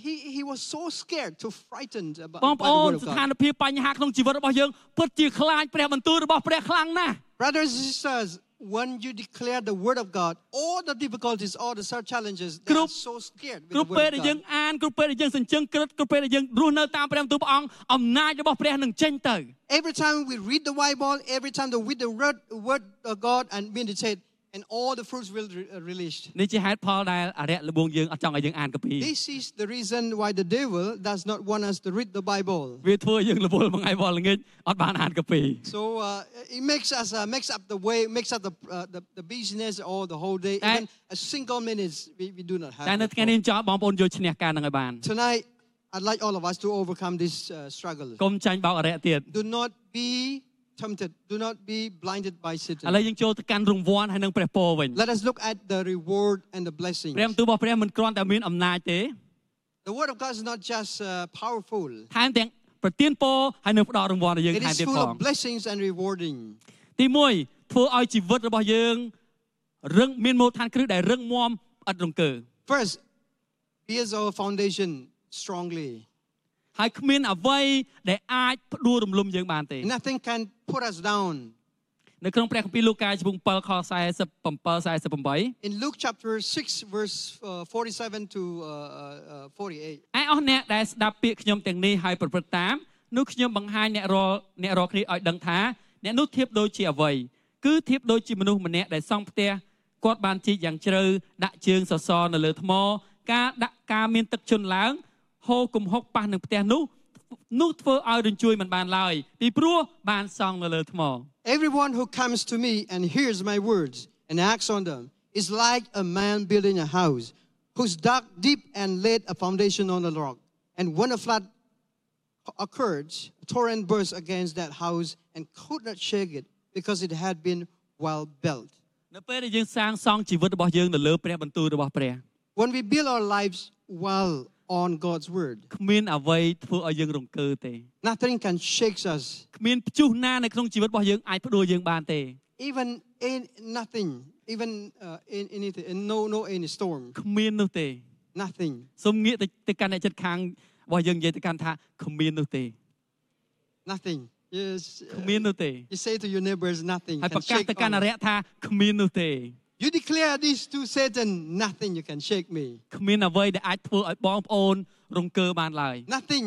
[SPEAKER 3] he he was so scared, so frightened about
[SPEAKER 2] បង
[SPEAKER 3] by
[SPEAKER 2] ប្អូ
[SPEAKER 3] the
[SPEAKER 2] ន
[SPEAKER 3] word of
[SPEAKER 2] ស្ថា
[SPEAKER 3] God.
[SPEAKER 2] នភាពបញ្ហាក្នុងជីវិតរបស់យើងពិតជាខ្លាចព្រះបន្ទូលរបស់ព្រះខ្លាំងណាស់
[SPEAKER 3] Brothers and sisters, when you declare the word of God, all the difficulties, all the such challenges, they are
[SPEAKER 2] Group-
[SPEAKER 3] so scared with
[SPEAKER 2] គ្រប់
[SPEAKER 3] the
[SPEAKER 2] ពេល
[SPEAKER 3] word
[SPEAKER 2] ដែល
[SPEAKER 3] of
[SPEAKER 2] យើង
[SPEAKER 3] God.
[SPEAKER 2] អានគ្រប់ពេលដែលយើងសញ្ជឹងក្រឹតគ្រប់ពេលដែលយើងរស់នៅតាមព្រះបន្ទូលព្រះអង្គអំណាចរបស់ព្រះនឹងចេញទៅ
[SPEAKER 3] Every time we read the Bible, every time we read the word, word of God and meditate, and all the fruits will be released.
[SPEAKER 2] នេះជាហេតុផលដែលអរិយលបងយើងអត់ចង់ឲ្យយើងអានកាពី
[SPEAKER 3] This is the reason why the devil does not want us to read the Bible.
[SPEAKER 2] វាធ្វើយើងរវល់មួយថ្ងៃវល់ល្ងាចអត់បានអានកាពី
[SPEAKER 3] So uh, it makes us uh, makes up the way, makes up the, uh, the the business all the whole day.
[SPEAKER 2] That-
[SPEAKER 3] Even a single minute we, we do not have.
[SPEAKER 2] តែនៅ
[SPEAKER 3] it.
[SPEAKER 2] ថ្ងៃនេះចង់ឲ្យបងប្អូនយកឈ្នះការនឹងឲ្យបាន
[SPEAKER 3] Tonight, I'd like all of us to overcome this uh, struggle.
[SPEAKER 2] កុំចាញ់បោកអរិយទៀត
[SPEAKER 3] Do not be tempted. Do not be blinded by
[SPEAKER 2] ឥឡូវ
[SPEAKER 3] Satan.
[SPEAKER 2] យើងចូលទៅកាន់រង្វាន់ហើយនឹងព្រះពរវិញ
[SPEAKER 3] Let us look at the reward and the
[SPEAKER 2] ព្រះ
[SPEAKER 3] blessings.
[SPEAKER 2] បន្ទូលរបស់ព្រះមិនគ្រាន់តែមានអំណាចទេ
[SPEAKER 3] The word of God is not just uh, powerful.
[SPEAKER 2] ថែមទាំងប្រទានពរហើយនឹងផ្ដល់រង្វាន់ឲ្យយើង
[SPEAKER 3] It
[SPEAKER 2] ថែម
[SPEAKER 3] is
[SPEAKER 2] ទៀត
[SPEAKER 3] full
[SPEAKER 2] ផង
[SPEAKER 3] of blessings and rewarding.
[SPEAKER 2] ទី1ធ្វើឲ្យជីវិតរបស់យើងរឹងមានមូលដ្ឋានគ្រឹះដែលរឹងមាំឥតរង្គើ
[SPEAKER 3] First, here's our foundation strongly.
[SPEAKER 2] ហើយគ្មានអ្វីដែលអាចផ្ដួលរំលំយើងបានទេ
[SPEAKER 3] Nothing can put us down.
[SPEAKER 2] នៅក្នុងព្រះគម្ពីរលូកាជំពូក7ខ47 48
[SPEAKER 3] In Luke chapter 6, verse uh, 47 to uh, uh, uh, 48,
[SPEAKER 2] ឯអស់អ្នកដែលស្ដាប់ពាក្យខ្ញុំទាំងនេះហើយប្រព្រឹត្តតាមនោះខ្ញុំបង្ហាញអ្នករាល់អ្នករាល់គ្នាឲ្យដឹងថាអ្នកនោះធៀបដូចជាអ្វីគឺធៀបដូចជាមនុស្សម្នាក់ដែលសង់ផ្ទះគាត់បានជីកយ៉ាងជ្រៅដាក់ជើងសសរនៅលើថ្ម ការដាក់ការមានទឹកជន់ឡើងហូរគំហុកប៉ះនឹងផ្ទះនោះនោះធ្វើឲ្យរញ្ជួយមិនបានឡើយពីព្រោះបានសង់នៅលើថ្ម
[SPEAKER 3] Everyone who comes to me and hears my words and acts on them is like a man building a house who's dug deep and laid a foundation on the rock. And when a flood occurred, a torrent burst against that house and could not shake it because it had been well built.
[SPEAKER 2] នៅពេលដែលយើងសាងសង់ជីវិតរបស់យើងនៅលើព្រះបន្ទូលរបស់ព្រះ
[SPEAKER 3] When we build our lives well on God's word,
[SPEAKER 2] គ្មានអ្វីធ្វើឲ្យយើងរង្គើទេ
[SPEAKER 3] nothing can shake us.
[SPEAKER 2] គ្មានព្យុះណានៅក្នុងជីវិតរបស់យើងអាចផ្ដួលយើងបានទេ
[SPEAKER 3] Even in nothing, even uh, in anything, in no, no any storm.
[SPEAKER 2] គ្មាននោះទេ
[SPEAKER 3] Nothing.
[SPEAKER 2] សូមងាកទៅទៅកាន់អ្នកជិតខាងរបស់យើងនិយាយទៅកាន់ថាគ្មាននោះទេ
[SPEAKER 3] Nothing. You, s-
[SPEAKER 2] គ្មាននោះទេ
[SPEAKER 3] you say to your neighbors, nothing.
[SPEAKER 2] ហើយ
[SPEAKER 3] can
[SPEAKER 2] ប្រកាស
[SPEAKER 3] shake
[SPEAKER 2] ទៅកាន់អ
[SPEAKER 3] on me.
[SPEAKER 2] រិយថាគ្មាននោះទេ
[SPEAKER 3] You declare this to Satan, nothing you can shake me.
[SPEAKER 2] គ្មានអ្វីដែលអាចធ្វើឲ្យបងប្អូនរង្គើបានឡើយ
[SPEAKER 3] Nothing.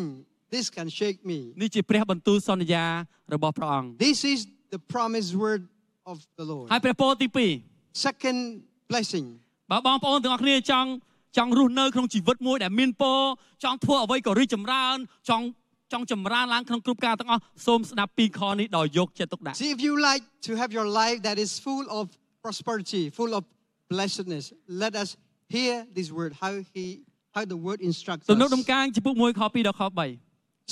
[SPEAKER 3] This can shake me.
[SPEAKER 2] នេះជាព្រះបន្ទូលសន្យារបស់ព្រះអង្គ
[SPEAKER 3] This is the promised word of the Lord.
[SPEAKER 2] ហើយព្រះពរទី2
[SPEAKER 3] Second blessing.
[SPEAKER 2] បើបងប្អូនទាំងអស់គ្នាចង់ចង់រស់នៅក្នុងជីវិតមួយដែលមានពរចង់ធ្វើអ្វីក៏រីកចម្រើនចង់ចង់ចម្រើនឡើងក្នុងគ្រប់ការទាំងអស់សូមស្ដាប់ពីខនេះដោយយកចិត្តទុកដាក់
[SPEAKER 3] See, if you like to have your life that is full of prosperity, full of blessedness, let us hear this word, how he, how the word instructs
[SPEAKER 2] ទំនុកដំ
[SPEAKER 3] us.
[SPEAKER 2] កាងចំពោះ1ខ2ដល់ខ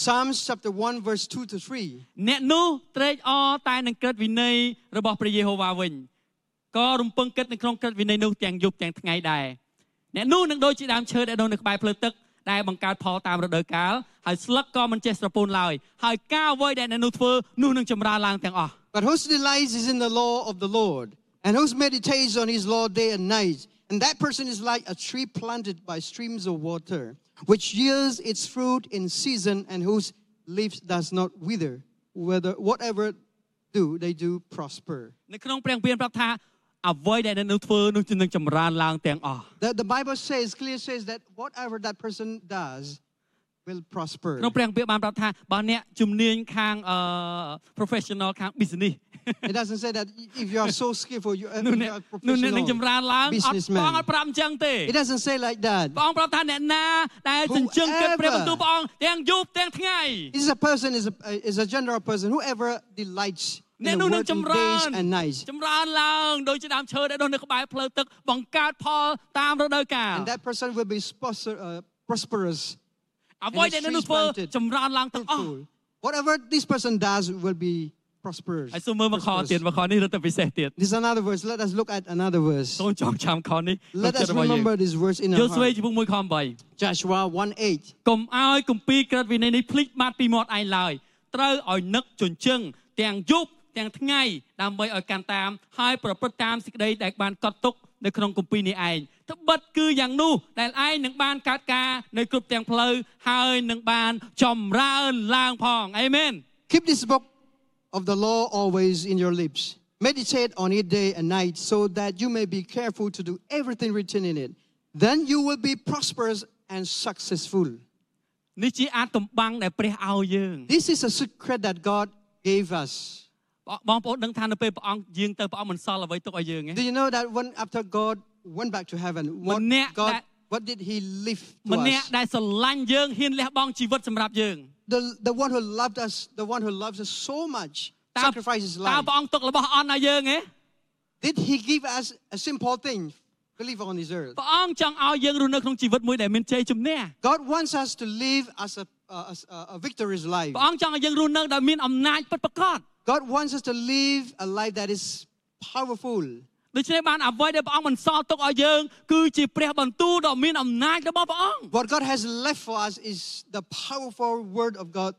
[SPEAKER 3] Psalms chapter 1, verse 2 to 3.
[SPEAKER 2] 3អ្នកនោះត្រេកអរតែនឹងក្រឹតវិន័យរបស់ព្រះយេហូវ៉ាវិញក៏រំពឹងគិតនៅក្នុងក្រឹតវិន័យនោះទាំងយប់ទាំងថ្ងៃដែរអ្នកនោះនឹងដូចជាដើមឈើដែលដុះនៅក្បែរភ្លើទឹកដែលបង្កើតផលតាមរដូវកាលហើយស្លឹកក៏មិនចេះស្រពោនឡើយហើយការអ្វីដែលអ្នកនោះធ្វើនោះនឹងចម្រើនឡើងទាំងអស់
[SPEAKER 3] But whose delight is in the law of the Lord, and whose meditates on his law day and night, and that person is like a tree planted by streams of water, which yields its fruit in season, and whose leaves does not wither. Whether whatever do they do prosper.
[SPEAKER 2] នៅក្នុងព្រះគម្ពីរប្រាប់ថាអ្វីដែលអ្នកនោះធ្វើនោះនឹងចម្រើនឡើងទាំងអស់
[SPEAKER 3] The, the Bible says clear says that whatever that person does will prosper.
[SPEAKER 2] ក្នុងព្រះគម្ពីរបានប្រាប់ថាបើអ្នកជំនាញខាងអឺ professional ខាង business
[SPEAKER 3] It doesn't say that if you are so skillful, you, if
[SPEAKER 2] នោះ
[SPEAKER 3] you
[SPEAKER 2] អ្នក
[SPEAKER 3] are a
[SPEAKER 2] នោះអ្នកនឹងចម្រើនឡើង
[SPEAKER 3] professional
[SPEAKER 2] អត់ព្រះអង្គអត់ប្រាប់អ
[SPEAKER 3] businessman.
[SPEAKER 2] ញ្ចឹងទេ
[SPEAKER 3] It doesn't say like that.
[SPEAKER 2] ព្រះអង្គប្រាប់ថាអ្នកណាដែលចិញ្ចឹមកិត្តព្រះបន្ទូលព្រះអង្គទាំងយប់ទាំងថ្ងៃ
[SPEAKER 3] This is a person is a uh, is a general person whoever delights
[SPEAKER 2] អ្នក
[SPEAKER 3] in
[SPEAKER 2] នោះ
[SPEAKER 3] the
[SPEAKER 2] នឹង
[SPEAKER 3] work in
[SPEAKER 2] ចម្រើន
[SPEAKER 3] days and nights.
[SPEAKER 2] ចម្រើនឡើងដូចជាដើមឈើដែលដុះនៅក្បែរផ្លូវទឹកបង្កើតផលតាមរដូវកាល
[SPEAKER 3] And that person will be sponsor, uh, prosperous,
[SPEAKER 2] អ្វីដែលអ្នកនោះធ្វើ
[SPEAKER 3] and the trees planted.
[SPEAKER 2] ចម្រើនឡើងទាំងអស់
[SPEAKER 3] fruitful. Whatever this person does will be prosperous.
[SPEAKER 2] ហើយសូមមើលមកខទៀត
[SPEAKER 3] prosperous.
[SPEAKER 2] មកខនេះរត់ទៅពិសេសទៀត
[SPEAKER 3] This is another verse. Let us look at another verse.
[SPEAKER 2] សូមចងចាំខនេះក្នុង
[SPEAKER 3] Let
[SPEAKER 2] ចិត្ត
[SPEAKER 3] us
[SPEAKER 2] របស់យើង
[SPEAKER 3] remember this verse in
[SPEAKER 2] យ
[SPEAKER 3] our
[SPEAKER 2] ល់ស្វេ
[SPEAKER 3] heart.
[SPEAKER 2] ជំពូក1ខ
[SPEAKER 3] Joshua 1 8.
[SPEAKER 2] 8កុំឲ្យគម្ពីរក្រឹតវិន័យនេះភ្លេចបាត់ពីមាត់ឯងឡើយត្រូវឲ្យនឹកជញ្ជឹងទាំងយប់ទាំងថ្ងៃដើម្បីឲ្យកាន់តាមហើយប្រព្រឹត្តតាមសេចក្តីដែលបានកត់ទុកនៅក្នុងគម្ពីរនេះឯងត្បិតគឺយ៉ាងនោះដែលឯងនឹងបានកើតការនៅគ្រប់ទាំងផ្លូវហើយនឹងបានចម្រើនឡើងផងអេមែន
[SPEAKER 3] Keep this book of the law always in your lips. Meditate on it day and night so that you may be careful to do everything written in it. Then you will be prosperous and successful.
[SPEAKER 2] នេះជាអាតំបាំងដែលព្រះឲ្យយើង
[SPEAKER 3] This is a secret that God gave us.
[SPEAKER 2] បងប្អូនដឹងថានៅពេលព្រះអង្គយាងទៅព្រះអង្គមិនសល់អ្វីទុកឲ្យយើងទេ
[SPEAKER 3] Do you know that when after God went back to heaven, what
[SPEAKER 2] Menek
[SPEAKER 3] God
[SPEAKER 2] that-
[SPEAKER 3] what did he leave to
[SPEAKER 2] ម្នាក់
[SPEAKER 3] us?
[SPEAKER 2] ដែលស្រឡាញ់យើងហ៊ានលះបង់ជីវិតសម្រាប់យើង
[SPEAKER 3] The, the one who loved us, the one who loves us so much,
[SPEAKER 2] តើតើ
[SPEAKER 3] sacrificed his
[SPEAKER 2] ព្រះ
[SPEAKER 3] life.
[SPEAKER 2] អង្គទុករបស់អន់ឲ្យយើងហ៎
[SPEAKER 3] Did he give us a simple thing to live on this earth?
[SPEAKER 2] ព្រះអង្គចង់ឲ្យយើងរស់នៅក្នុងជីវិតមួយដែលមានជ័យជំនះ
[SPEAKER 3] God wants us to live as a, uh, as a, a victorious life.
[SPEAKER 2] ព្រះអង្គចង់ឲ្យយើងរស់នៅដោយមានអំណាចពិតប្រាកដ
[SPEAKER 3] God wants us to live a life that is powerful.
[SPEAKER 2] ដូច្នេះបានអ្វីដែលព្រះអង្គបានសល់ទុកឲ្យយើងគឺជាព្រះបន្ទូលដ៏មានអំណាចរបស់ព្រះអង្គ
[SPEAKER 3] What God has left for us is the powerful word of God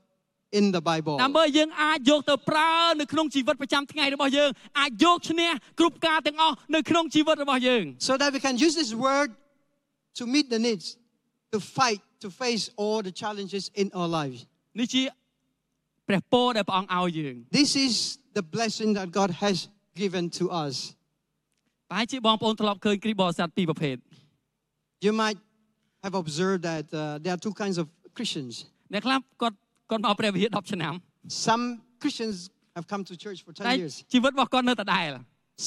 [SPEAKER 3] in the Bible.
[SPEAKER 2] ដើម្បីយើងអាចយកទៅប្រើនៅក្នុងជីវិតប្រចាំថ្ងៃរបស់យើងអាចយកឈ្នះគ្រប់ការទាំងអស់នៅក្នុងជីវិតរបស់យើង
[SPEAKER 3] so that we can use this word to meet the needs, to fight, to face all the challenges in our lives.
[SPEAKER 2] នេះជាព្រះពរដែលព្រះអង្គឲ្យយើង
[SPEAKER 3] This is the blessing that God has given to us.
[SPEAKER 2] ប្រហែលជាបងប្អូនធ្លាប់ឃើញគ្រីស្ទបរិស័ទពីរប្រភេទ
[SPEAKER 3] You might have observed that uh, there are two kinds of Christians.
[SPEAKER 2] អ្នកខ្លះគាត់គាត់មកព្រះវិហារ10ឆ្នាំ
[SPEAKER 3] Some Christians have come to church for
[SPEAKER 2] តែ
[SPEAKER 3] 10 years,
[SPEAKER 2] ជីវិតរបស់គាត់នៅតែដែល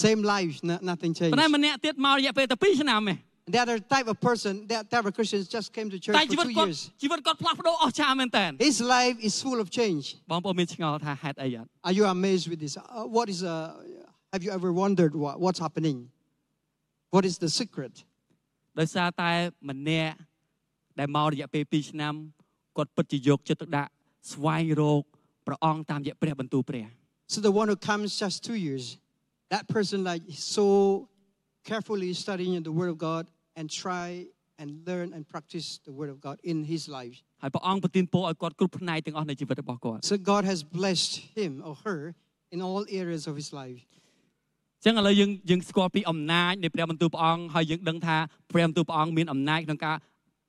[SPEAKER 3] same life, no- nothing
[SPEAKER 2] ប៉ុ
[SPEAKER 3] changed.
[SPEAKER 2] ន្តែម្នាក់ទៀតមករយៈពេលតែ2ឆ្នាំឯង
[SPEAKER 3] The other type of person, that type of Christians just came to church
[SPEAKER 2] តែជីវិ
[SPEAKER 3] for
[SPEAKER 2] ត
[SPEAKER 3] two
[SPEAKER 2] គាត់
[SPEAKER 3] years.
[SPEAKER 2] ជីវិតគាត់ផ្លាស់ប្ដូរអស្ចារ្យមែនតើ
[SPEAKER 3] His life is full of change.
[SPEAKER 2] បងប្អូនមានឆ្ងល់ថាហេតុអីអត់
[SPEAKER 3] Are you amazed with this? Uh, what is, uh, have you ever wondered what, what's happening? What is the secret?
[SPEAKER 2] ដោយសារតែម្នាក់ដែលមករយៈពេល2ឆ្នាំគាត់ពិតជាយកចិត្តទុកដាក់ស្វែងរកព្រះអង្គតាមរយៈព្រះបន្ទូលព្រះ
[SPEAKER 3] So the one who comes just two years, that person like is so carefully studying the Word of God and try and learn and practice the Word of God in his life.
[SPEAKER 2] ហើយព្រះអង្គប្រទានពរឲ្យគាត់គ្រប់ផ្នែកទាំងអស់នៃជីវិតរបស់គាត់
[SPEAKER 3] So God has blessed him or her in all areas of his life.
[SPEAKER 2] អញ្ចឹងឥឡូវយើងយើងស្គាល់ពីអំណាចនៃព្រះបន្ទូលព្រះអង្គហើយយើងដឹងថាព្រះបន្ទូលព្រះអង្គមានអំណាចក្នុងការ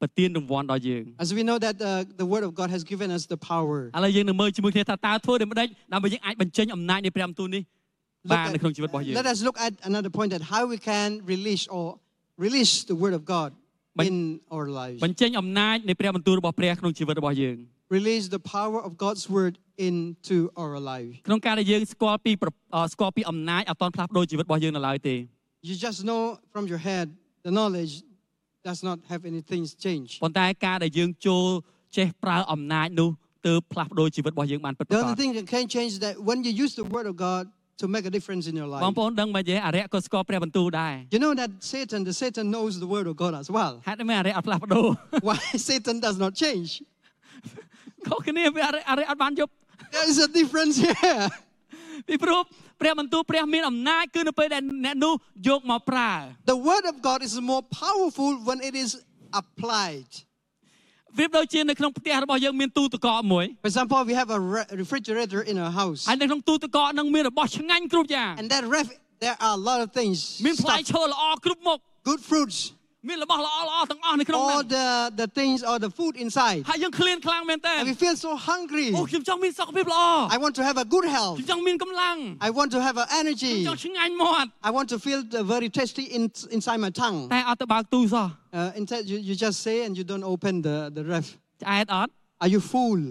[SPEAKER 2] ប្រទានរង្វាន់ដល់យើង
[SPEAKER 3] As we know that uh, the Word of God has given us the power.
[SPEAKER 2] ឥឡូវយើងនឹងមើលជាមួយគ្នាថាតើធ្វើដូចម្ដេចដើម្បីយើងអាចបញ្ចេញអំណាចនៃព្រះបន្ទូលនេះ
[SPEAKER 3] Look
[SPEAKER 2] បាននៅ
[SPEAKER 3] at-
[SPEAKER 2] ក្នុងជីវិតរបស់យើង
[SPEAKER 3] let us look at another point that how we can release or release the Word of God
[SPEAKER 2] Ban-
[SPEAKER 3] in our lives.
[SPEAKER 2] បញ្ចេញអំណាចនៃព្រះបន្ទូលរបស់ព្រះក្នុងជីវិតរបស់យើង
[SPEAKER 3] Release the power of God's Word into our life.
[SPEAKER 2] ក្នុងការដែលយើងស្គាល់ពីប្រអស្គាល់ពីអំណាចអត់តន់ផ្លាស់ប្ដូរជីវិតរបស់យើងនៅឡើយទេ
[SPEAKER 3] You just know from your head the knowledge does not have anything change.
[SPEAKER 2] ប៉ុន្តែការដែលយើងចូលចេះប្រើអំណាចនោះទើបផ្លាស់ប្ដូរជីវិតរបស់យើងបានពិត
[SPEAKER 3] The
[SPEAKER 2] ប្រាក
[SPEAKER 3] only
[SPEAKER 2] ដ
[SPEAKER 3] thing that can change is that when you use the Word of God to make a difference in your
[SPEAKER 2] បង
[SPEAKER 3] life.
[SPEAKER 2] ប្អូនដឹងមែនទេអរិយក៏ស្គាល់ព្រះបន្ទូលដែរ
[SPEAKER 3] You know that Satan, the Satan knows the Word of God as well.
[SPEAKER 2] ហេតុម៉េចអរិយអត់ផ្លាស់ប្ដូរ
[SPEAKER 3] Why Satan does not change?
[SPEAKER 2] ខុសគ្នាវាអរិយអរិយអត់បានយប់
[SPEAKER 3] There is a difference here.
[SPEAKER 2] ពីព្រោះព្រះបន្ទូលព្រះមានអំណាចគឺនៅពេលដែលអ្នកនោះយកមកប្រើ
[SPEAKER 3] The Word of God is more powerful when it is applied.
[SPEAKER 2] វាដូចជានៅក្នុងផ្ទះរបស់យើងមានទូទឹកកកមួយ
[SPEAKER 3] For example, we have a re- refrigerator in our house,
[SPEAKER 2] ហើយនៅក្នុងទូទឹកកកនឹងមានរបស់ឆ្ងាញ់គ្រប់យ៉ាង
[SPEAKER 3] and that ref there are a lot of things,
[SPEAKER 2] មានផ្លែ
[SPEAKER 3] stuff,
[SPEAKER 2] ឈើល្អគ្រប់មុខ
[SPEAKER 3] good fruits,
[SPEAKER 2] មានរបស់ល្អល្អទាំងអស់នៅក្នុងហ្នឹ
[SPEAKER 3] all
[SPEAKER 2] ង
[SPEAKER 3] the the things or the food inside,
[SPEAKER 2] ហើយយើងឃ្លានខ្លាំងមែនតើ
[SPEAKER 3] and we feel so hungry.
[SPEAKER 2] អូខ្ញុំចង់មានសុខភាពល្អ
[SPEAKER 3] I want to have a good
[SPEAKER 2] ខ្ញុំ
[SPEAKER 3] health.
[SPEAKER 2] ចង់មានកម្លាំង
[SPEAKER 3] I want to have an
[SPEAKER 2] ខ្ញុំ
[SPEAKER 3] energy.
[SPEAKER 2] ចង់ឆ្ងាញ់មាត់
[SPEAKER 3] I want to feel the very tasty in, inside my tongue.
[SPEAKER 2] តែអត់ទៅបើកទូសោះ
[SPEAKER 3] Uh, instead, you, you just say and you don't open the, the ref.
[SPEAKER 2] ឆ្អែតអត់
[SPEAKER 3] Are you full?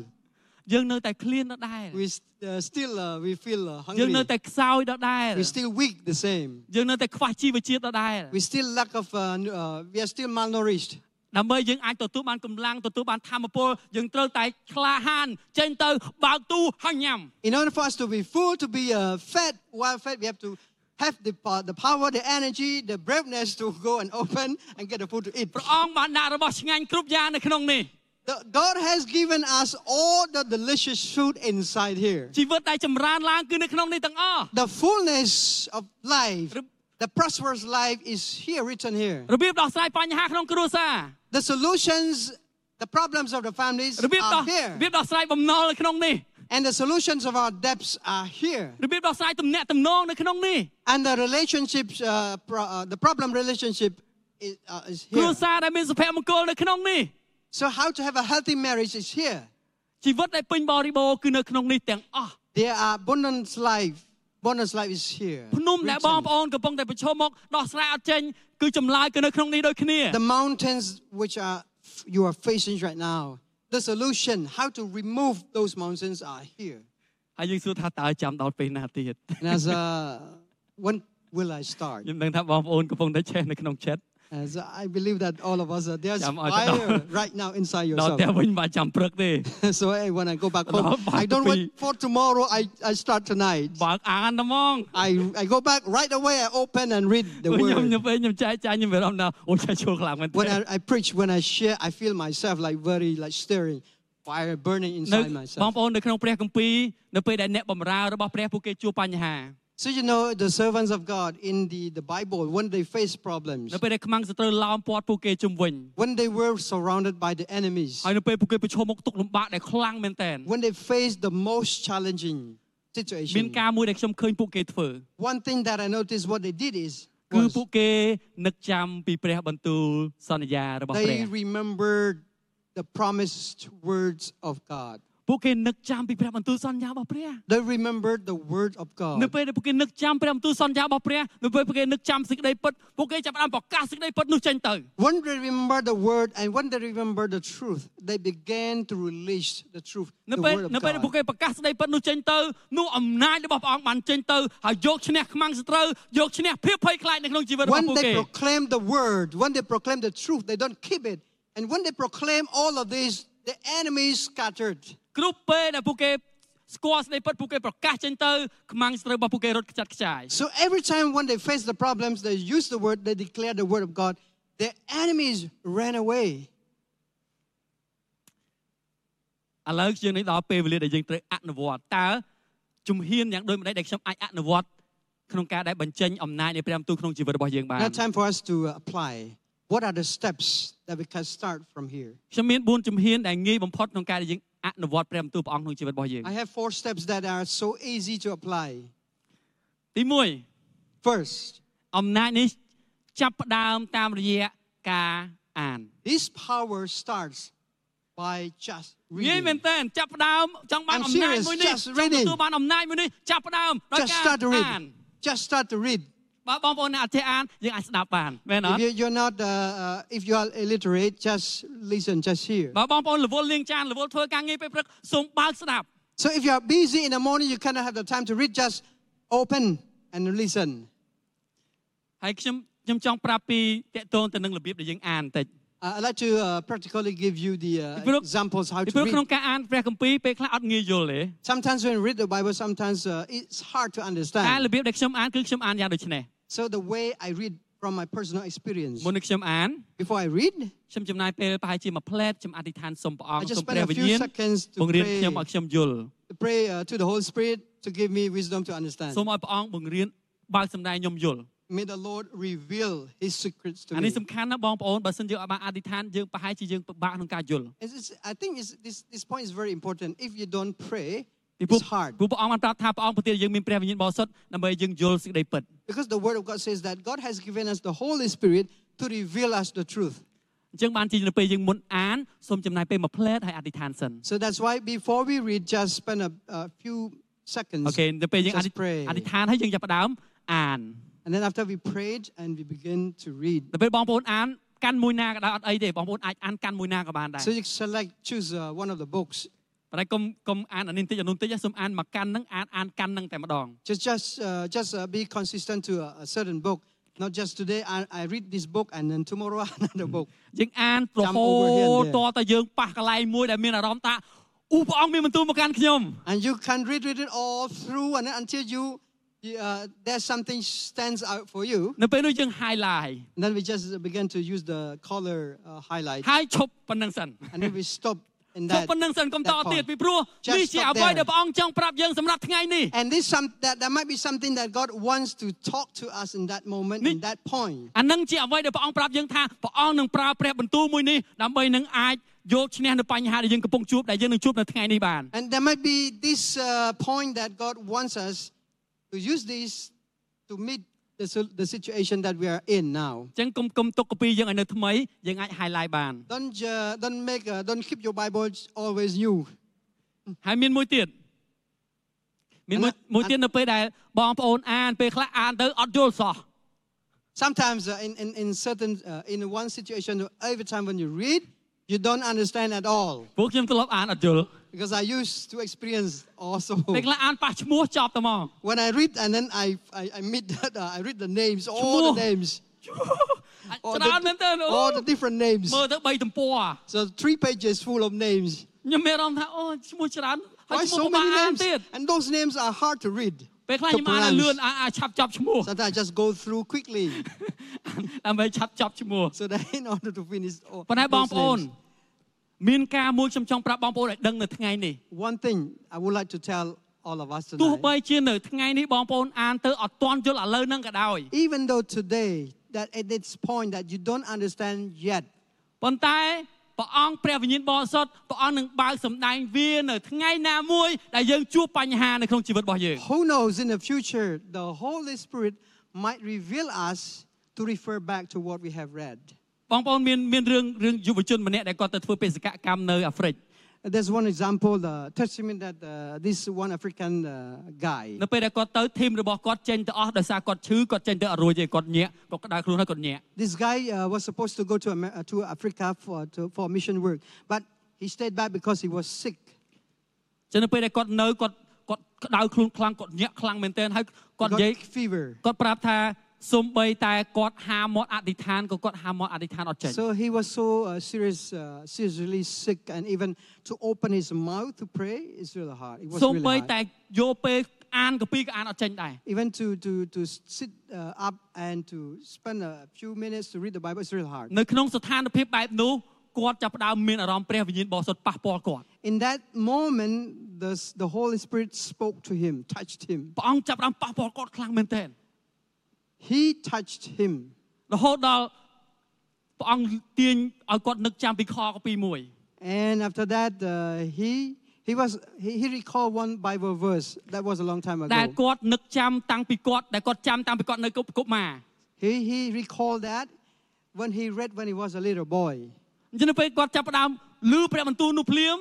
[SPEAKER 2] យើងនៅតែឃ្លានដដែល
[SPEAKER 3] We s- uh, still uh, we feel uh,
[SPEAKER 2] យើងនៅ
[SPEAKER 3] hungry.
[SPEAKER 2] តែខ្សោយដដែល
[SPEAKER 3] We're still weak the same.
[SPEAKER 2] យើងនៅតែខ្វះជីវជាតិដដែល
[SPEAKER 3] We still lack of, uh, nu- uh, we are still malnourished.
[SPEAKER 2] ដើម្បីយើងអាចទទួលបានកម្លាំងទទួលបានធម៌ពលយើងត្រូវតែក្លាហានចេញទៅបើកទូហើយញ៉ាំ
[SPEAKER 3] In order for us to be full, to be uh, fed, well fed, we have to have the, po- the power, the energy, the braveness to go and open and get the food to eat.
[SPEAKER 2] ព្រះអង្គបានដាក់របស់ឆ្ងាញ់គ្រប់យ៉ាងនៅក្នុងនេះ
[SPEAKER 3] The- God has given us all the delicious food inside here.
[SPEAKER 2] ជីវិតដែលចម្រើនឡើងគឺនៅក្នុងនេះទាំងអស់
[SPEAKER 3] The fullness of life,
[SPEAKER 2] Rep-
[SPEAKER 3] the prosperous life is here written here.
[SPEAKER 2] របៀបដោះស្រាយបញ្ហាក្នុងគ្រួសារ
[SPEAKER 3] The solutions, the problems of the families
[SPEAKER 2] របៀបដោះ
[SPEAKER 3] are
[SPEAKER 2] របៀ
[SPEAKER 3] here.
[SPEAKER 2] បដោះស្រាយបំណុលនៅក្នុងនេះ
[SPEAKER 3] And the solutions of our debts are here.
[SPEAKER 2] របៀបដោះស្រាយទំនាក់ទំនងនៅក្នុងនេះ
[SPEAKER 3] And the relationships, uh, pro- uh, the problem relationship is, uh, is
[SPEAKER 2] គ្រួ
[SPEAKER 3] here.
[SPEAKER 2] សារដែលមានសុភមង្គលនៅក្នុងនេះ
[SPEAKER 3] So how to have a healthy marriage is here.
[SPEAKER 2] ជីវិតដែលពេញបរិបូរណ៍គឺនៅក្នុងនេះទាំងអស់
[SPEAKER 3] There are abundance life. Abundance life is here.
[SPEAKER 2] ភ្នំដែលបង
[SPEAKER 3] written.
[SPEAKER 2] ប្អូនកំពុងតែប្រឈមមកដោះស្រាយអត់ចេញគឺចម្លើយគឺនៅក្នុងនេះដូចគ្នា
[SPEAKER 3] The mountains which are you are facing right now, the solution, how to remove those mountains are here.
[SPEAKER 2] ហើយយើងសួរថាតើចាំដល់ពេលណាទៀត
[SPEAKER 3] And as uh, when will I start?
[SPEAKER 2] ខ្ញុំដឹងថាបងប្អូនកំពុងតែឆេះនៅក្នុងចិត្ត
[SPEAKER 3] As I believe that all of us are there's
[SPEAKER 2] Jam ai ta
[SPEAKER 3] fire
[SPEAKER 2] đâu.
[SPEAKER 3] right now inside
[SPEAKER 2] ដល់
[SPEAKER 3] yourself.
[SPEAKER 2] តែវិញបាទចាំព្រឹកទេ
[SPEAKER 3] so hey, when I go back
[SPEAKER 2] Nó
[SPEAKER 3] home,
[SPEAKER 2] phải
[SPEAKER 3] I don't
[SPEAKER 2] bị-
[SPEAKER 3] wait for tomorrow. I, I start tonight.
[SPEAKER 2] បើកអានតែហ្មង
[SPEAKER 3] I, I go back right away. I open and read the
[SPEAKER 2] ព្រោះខ្ញុំ
[SPEAKER 3] word.
[SPEAKER 2] ខ្ញុំពេលខ្ញុំចែកចាយខ្ញុំវារំដល់អូចាឈួរខ្លាំងមែនទ
[SPEAKER 3] When
[SPEAKER 2] ែ
[SPEAKER 3] I, I preach, when I share, I feel myself like very like stirring, fire burning
[SPEAKER 2] នៅប
[SPEAKER 3] inside
[SPEAKER 2] ង
[SPEAKER 3] myself.
[SPEAKER 2] ប្អូននៅក្នុងព្រះគម្ពីរនៅពេលដែលអ្នកបម្រើរបស់ព្រះពួកគេជួបបញ្ហា
[SPEAKER 3] So you know the servants of God in the, the Bible when they face
[SPEAKER 2] នៅ
[SPEAKER 3] problems,
[SPEAKER 2] ពេលដែលខ្មាំងសត្រូវឡោមព័ទ្ធពួកគេជុំវិញ
[SPEAKER 3] when they were surrounded by the enemies,
[SPEAKER 2] ហើយនៅពេលពួកគេប្រឈមមុខទុក្ខលំបាកដែលខ្លាំងមែនទែន
[SPEAKER 3] when they faced the most challenging
[SPEAKER 2] មាន
[SPEAKER 3] situation,
[SPEAKER 2] ការមួយដែលខ្ញុំឃើញពួកគេធ្វើ
[SPEAKER 3] one thing that I noticed what they did is
[SPEAKER 2] គឺ
[SPEAKER 3] was
[SPEAKER 2] ពួកគេនឹកចាំពីព្រះបន្ទូលសន្យារបស់ព្រះ
[SPEAKER 3] they remembered the promised words of God.
[SPEAKER 2] ពួកគេនឹកចាំពីព្រះបន្ទូលសន្យារបស់ព្រះ
[SPEAKER 3] They remembered the word of
[SPEAKER 2] នៅ
[SPEAKER 3] God.
[SPEAKER 2] ពេលដែលពួកគេនឹកចាំព្រះបន្ទូលសន្យារបស់ព្រះនៅពេលពួកគេនឹកចាំសេចក្តីពិតពួកគេចាប់ផ្ដើមប្រកាសសេចក្តីពិតនោះចេញទៅ
[SPEAKER 3] When they remember the word and when they remember the truth, they began to release the truth,
[SPEAKER 2] នៅ
[SPEAKER 3] the
[SPEAKER 2] ពេល
[SPEAKER 3] word
[SPEAKER 2] នៅ
[SPEAKER 3] of
[SPEAKER 2] ពេលដែលពួក
[SPEAKER 3] God.
[SPEAKER 2] គេប្រកាសសេចក្តីពិតនោះចេញទៅនោះអំណាចរបស់ព្រះអង្គបានចេញទៅហើយយកឈ្នះខ្មាំងសត្រូវយកឈ្នះភាពភ័យខ្លាចនៅក្នុងជីវិតរបស់
[SPEAKER 3] When
[SPEAKER 2] ពួកគេ
[SPEAKER 3] they proclaim the word, when they proclaim the truth, they don't keep it. And when they proclaim all of this, the enemy is scattered.
[SPEAKER 2] គ្រប់ពេលដែលពួកគេស្គាល់សេចក្តីពិតពួកគេប្រកាសចេញទៅខ្មាំងសត្រូវរបស់ពួកគេរត់ខ្ចាត់ខ្ចាយ
[SPEAKER 3] So every time when they face the problems, they use the word, they declare the word of God, their enemies ran away.
[SPEAKER 2] ឥឡូវយើងនឹងដល់ពេលវេលាដែលយើងត្រូវអនុវត្តតើជំហានយ៉ាងដូចម្តេចដែលខ្ញុំអាចអនុវត្តក្នុងការដែលបញ្ចេញអំណាចនៃព្រះបន្ទូលក្នុងជីវិតរបស់យើងបាន
[SPEAKER 3] Now, time for us to uh, apply. What are the steps that we can start from here?
[SPEAKER 2] ខ្ញុំមាន4ជំហានដែលងាយបំផុតក្នុងការដែលយើងអនុវត្តព្រះបន្ទូលព្រះអង្គក្នុងជីវិតរបស់យើង
[SPEAKER 3] I have four steps that are so easy to apply.
[SPEAKER 2] ទី
[SPEAKER 3] First,
[SPEAKER 2] 1អំណាចនេះចាប់ផ្ដើមតាមរយៈការអ អាន
[SPEAKER 3] This power starts by just
[SPEAKER 2] ងាយមែន
[SPEAKER 3] reading.
[SPEAKER 2] តើចាប់ផ្ដើមចង់បាន
[SPEAKER 3] I'm
[SPEAKER 2] អំណាច
[SPEAKER 3] serious,
[SPEAKER 2] មួយនេះ
[SPEAKER 3] just
[SPEAKER 2] ចង់
[SPEAKER 3] reading.
[SPEAKER 2] ទទួលបានអំណាចមួយនេះចាប់ផ្ដើមដោយ
[SPEAKER 3] Just
[SPEAKER 2] ការ
[SPEAKER 3] start to
[SPEAKER 2] អាន
[SPEAKER 3] read. Just start to read.
[SPEAKER 2] បើបងប្អូនអ្នកអធិអានយើងអាចស្ដាប់បានមែនអត់
[SPEAKER 3] If you, you're not, uh, uh, if you are illiterate, just listen, just hear.
[SPEAKER 2] បើបងប្អូនរវល់លាងចានរវល់ធ្វើការងារពេលព្រឹកសូមបើកស្ដាប់
[SPEAKER 3] So if you are busy in the morning, you cannot have the time to read. Just open and listen.
[SPEAKER 2] ហើយខ្ញុំខ្ញុំចង់ប្រាប់ពីតកតងទៅនឹងរបៀបដែលយើងអានបន្តិច
[SPEAKER 3] Uh, I'd like to uh, practically give you the
[SPEAKER 2] If you
[SPEAKER 3] uh,
[SPEAKER 2] look-
[SPEAKER 3] examples how
[SPEAKER 2] ពីព្រោះ
[SPEAKER 3] to
[SPEAKER 2] ក្នុង
[SPEAKER 3] read.
[SPEAKER 2] ការអានព្រះគម្ពីរពេលខ្លះអត់ងាយយល់ទេ
[SPEAKER 3] Sometimes when you read the Bible, sometimes uh, it's hard to
[SPEAKER 2] តែរ
[SPEAKER 3] understand.
[SPEAKER 2] របៀបដែលខ្ញុំអានគឺខ្ញុំអានយ៉ាងដូចនេះ
[SPEAKER 3] So the way I read from my personal experience,
[SPEAKER 2] មុននឹងខ្ញុំអាន
[SPEAKER 3] before I read,
[SPEAKER 2] ខ្ញុំចំណាយពេលប្រហែលជាមួយផ្លែតខ្ញុំអធិដ្ឋានសូមព្រះអង្គ
[SPEAKER 3] I just
[SPEAKER 2] សូម
[SPEAKER 3] spend
[SPEAKER 2] ព្រះ
[SPEAKER 3] a
[SPEAKER 2] វិ
[SPEAKER 3] few
[SPEAKER 2] ញ្ញាណ
[SPEAKER 3] seconds to
[SPEAKER 2] បង្រៀន
[SPEAKER 3] pray,
[SPEAKER 2] ខ្ញុំឲ្យខ្ញុំយល់
[SPEAKER 3] to pray uh, to the Holy Spirit to give me wisdom to understand.
[SPEAKER 2] សូមឲ្យព្រះអង្គបង្រៀនបើកសម្ដែងខ្ញុំយល់
[SPEAKER 3] May the Lord reveal His secrets to
[SPEAKER 2] អា
[SPEAKER 3] me.
[SPEAKER 2] នេះសំខាន់ណាស់បងប្អូនបើសិនយើងអត់បានអធិដ្ឋានយើងប្រហែលជាយើងពិបាកក្នុងការយល់
[SPEAKER 3] It's- it's- I think it's, this, this point is very important. If you don't pray,
[SPEAKER 2] ពីព្រោះ
[SPEAKER 3] it's hard.
[SPEAKER 2] ព្រោះព្រះអង្គបានប្រាប់ថាព្រះអង្គប្រទានយើងមានព្រះវិញ្ញាណបរិសុទ្ធដើម្បីយើងយល់សេចក្តីពិត
[SPEAKER 3] Because the Word of God says that God has given us the Holy Spirit to reveal us the truth.
[SPEAKER 2] អញ្ចឹងបានជានៅពេលយើងមុនអានសូមចំណាយពេលមួយផ្លែតហើយអធិដ្ឋានសិន
[SPEAKER 3] So that's why before we read, just spend a, a few seconds.
[SPEAKER 2] អូខេនៅពេលយើងអធិ
[SPEAKER 3] just pray.
[SPEAKER 2] អធិដ្ឋានហើយយើងចាប់ផ្ដើមអាន
[SPEAKER 3] And then after we prayed and we begin to read.
[SPEAKER 2] ដល់ពេលបងប្អូនអានកាន់មួយណាក៏ដោយអត់អីទេបងប្អូនអាចអានកាន់មួយណាក៏បានដែរ
[SPEAKER 3] So you select, choose uh, one of the books.
[SPEAKER 2] ប៉ុន្តែកុំកុំអានអានេះបន្តិចអានោះបន្តិចណាសូមអានមកកាន់ហ្នឹងអានអានកាន់ហ្នឹងតែម្ដង
[SPEAKER 3] Just, just, uh, just uh, be consistent to a, a certain book. Not just today, I, I read this book and then tomorrow another book.
[SPEAKER 2] យើងអានរហូ
[SPEAKER 3] over here and
[SPEAKER 2] ត
[SPEAKER 3] there.
[SPEAKER 2] តតែយើងប៉ះកន្លែងមួយដែលមានអារម្មណ៍ថាអូព្រះអង្គមានបន្ទូលមកកាន់ខ្ញុំ
[SPEAKER 3] And you can read, read it all through and then until you, you, uh, there's something stands out for you.
[SPEAKER 2] នៅពេលនោះយើង highlight
[SPEAKER 3] And then we just began to use the color uh, highlight.
[SPEAKER 2] ហើយឈប់ប៉ុណ្្នឹងសិន
[SPEAKER 3] And then we stop in
[SPEAKER 2] ឈប់
[SPEAKER 3] that.
[SPEAKER 2] ប៉ុណ្្នឹងសិនកុំត
[SPEAKER 3] that
[SPEAKER 2] ទៀត
[SPEAKER 3] point.
[SPEAKER 2] ពីព្រោះ
[SPEAKER 3] Just
[SPEAKER 2] នេះជា
[SPEAKER 3] stop
[SPEAKER 2] អ្វី
[SPEAKER 3] there.
[SPEAKER 2] ដែលព្រះអង្គចង់ប្រាប់យើងសម្រាប់ថ្ងៃនេះ
[SPEAKER 3] And this some that there might be something that God wants to talk to us in that moment, in that point.
[SPEAKER 2] អានឹងជាអ្វីដែលព្រះអង្គប្រាប់យើងថាព្រះអង្គនឹងប្រើព្រះបន្ទូលមួយនេះដើម្បីនឹងអាចយកឈ្នះនៅបញ្ហាដែលយើងកំពុងជួបដែលយើងនឹងជួបនៅថ្ងៃនេះបាន
[SPEAKER 3] And there might be this uh, point that God wants us to use this to meet the, sol- the situation that we are in now.
[SPEAKER 2] អញ្ចឹងកុំកុំទុកកពីយើងឲ្យនៅថ្មីយើងអាច highlight បាន
[SPEAKER 3] Don't uh, don't make uh, don't keep your Bible always new.
[SPEAKER 2] ហើយមានមួយទៀតមានមួយ
[SPEAKER 3] អាន
[SPEAKER 2] មួយទៀតនៅពេលដែលបងប្អូនអានពេលខ្លះអានទៅអត់យល់សោះ
[SPEAKER 3] Sometimes uh, in, in in certain uh, in one situation, every time when you read, you don't understand at all
[SPEAKER 2] ពួកខ្ញុំធ្លាប់អានអត់យល់
[SPEAKER 3] because I used to experience also.
[SPEAKER 2] ពេលខ្លះអានប៉ះឈ្មោះចប់តែមក
[SPEAKER 3] When I read and then I I, I meet that uh, I read the names, all the
[SPEAKER 2] Semua.
[SPEAKER 3] names,
[SPEAKER 2] អាច
[SPEAKER 3] all
[SPEAKER 2] ច្រើនមែនទែន
[SPEAKER 3] the,
[SPEAKER 2] អូ
[SPEAKER 3] all the different names.
[SPEAKER 2] មើលទៅ3ទំព័រ
[SPEAKER 3] So three pages full of names.
[SPEAKER 2] ខ្ញុំមានអារម្មណ៍ថាអូឈ្មោះច្រើនហើយ
[SPEAKER 3] Why
[SPEAKER 2] ឈ្មោះ
[SPEAKER 3] so
[SPEAKER 2] ក៏បាន
[SPEAKER 3] many
[SPEAKER 2] អាន
[SPEAKER 3] names?
[SPEAKER 2] ទៀត
[SPEAKER 3] And those names are hard to read.
[SPEAKER 2] ពេលខ្លះ
[SPEAKER 3] to
[SPEAKER 2] ខ្ញុំអានឲ្យ
[SPEAKER 3] pronounce.
[SPEAKER 2] លឿនអានអាឆាប់ចប់ឈ្មោះ
[SPEAKER 3] Sometimes I just go through quickly
[SPEAKER 2] ដើម្បីឆាប់ចប់ឈ្មោះ
[SPEAKER 3] so that in order to finish. all
[SPEAKER 2] ប៉ុន្តែបង
[SPEAKER 3] those
[SPEAKER 2] ប្អូន
[SPEAKER 3] names.
[SPEAKER 2] មានការមួយខ្ញុំចង់ប្រាប់បងប្អូនឲ្យដឹងនៅថ្ងៃនេះ
[SPEAKER 3] One thing I would like to tell all of us
[SPEAKER 2] ទោះ
[SPEAKER 3] tonight.
[SPEAKER 2] បីជានៅថ្ងៃនេះបងប្អូនអានទៅអត់ទាន់យល់ឥឡូវហ្នឹងក៏ដោយ
[SPEAKER 3] Even though today, that at this point that you don't understand yet,
[SPEAKER 2] ប៉ុន្តែព្រះអង្គព្រះវិញ្ញាណបរិសុទ្ធព្រះអង្គនឹងបើកសម្ដែងវានៅថ្ងៃណាមួយដែលយើងជួបបញ្ហានៅក្នុងជីវិតរបស់យើង
[SPEAKER 3] who knows in the future, the Holy Spirit might reveal us to refer back to what we have read.
[SPEAKER 2] បងប្អូនមានមានរឿងរឿងយុវជនម្នាក់ដែលគាត់ទៅធ្វើបេសកកម្មនៅអាហ្វ្រិក
[SPEAKER 3] There's one example, the testimony that uh, this one African uh, guy.
[SPEAKER 2] នៅពេលដែលគាត់ទៅធីមរបស់គាត់ចេញទៅអស់ដោយសារគាត់ឈឺគាត់ចេញទៅអត់រួចទេគាត់ញាក់គាត់ក្តៅខ្លួនហើយគាត់ញាក់
[SPEAKER 3] This guy uh, was supposed to go to, Amer- uh, to Africa for, to, for mission work, but he stayed back because he was sick.
[SPEAKER 2] ចឹងនៅពេលដែលគាត់នៅគាត់គាត់ក្តៅខ្លួនខ្លាំងគាត់ញាក់ខ្លាំងមែនទែនហើយ
[SPEAKER 3] He
[SPEAKER 2] គាត់និយាយ
[SPEAKER 3] got fever.
[SPEAKER 2] គាត់ប្រាប់ថាសំបីតែគាត់ហាមាត់អធិដ្ឋានក៏គាត់ហាមាត់អធិដ្ឋានអត់ចេញ
[SPEAKER 3] So he was so uh, serious, uh, seriously sick, and even to open his mouth to pray is really hard. It was
[SPEAKER 2] សំបី
[SPEAKER 3] really
[SPEAKER 2] តែ
[SPEAKER 3] hard.
[SPEAKER 2] យកពេលអានកពីក៏អានអត់ចេញដែរ
[SPEAKER 3] Even to, to, to sit uh, up and to spend a few minutes to read the Bible is really hard.
[SPEAKER 2] នៅក្នុងស្ថានភាពបែបនោះគាត់ចាប់ផ្ដើមមានអារម្មណ៍ព្រះវិញ្ញាណបរិសុទ្ធប៉ះពាល់គាត់
[SPEAKER 3] In that moment, the, s- the Holy Spirit spoke to him, touched him.
[SPEAKER 2] ព្រះអង្គចាប់ផ្ដើមប៉ះពាល់គាត់ខ្លាំងមែនទែន
[SPEAKER 3] He touched him.
[SPEAKER 2] រហូតដល់ព្រះអង្គទាញឲ្យគាត់នឹកចាំពីខកពីមួយ
[SPEAKER 3] And after that, uh, he he was he, he recalled one Bible verse that was a long time
[SPEAKER 2] ដែល
[SPEAKER 3] ago.
[SPEAKER 2] គាត់នឹកចាំតាំងពីគាត់ដែលគាត់ចាំតាំងពីគាត់នៅកុមារ
[SPEAKER 3] He he recalled that, when he read when he was a little boy.
[SPEAKER 2] អញ្ចឹងនៅពេលគាត់ចាប់ផ្ដើមឮព្រះបន្ទូលនោះភ្លាម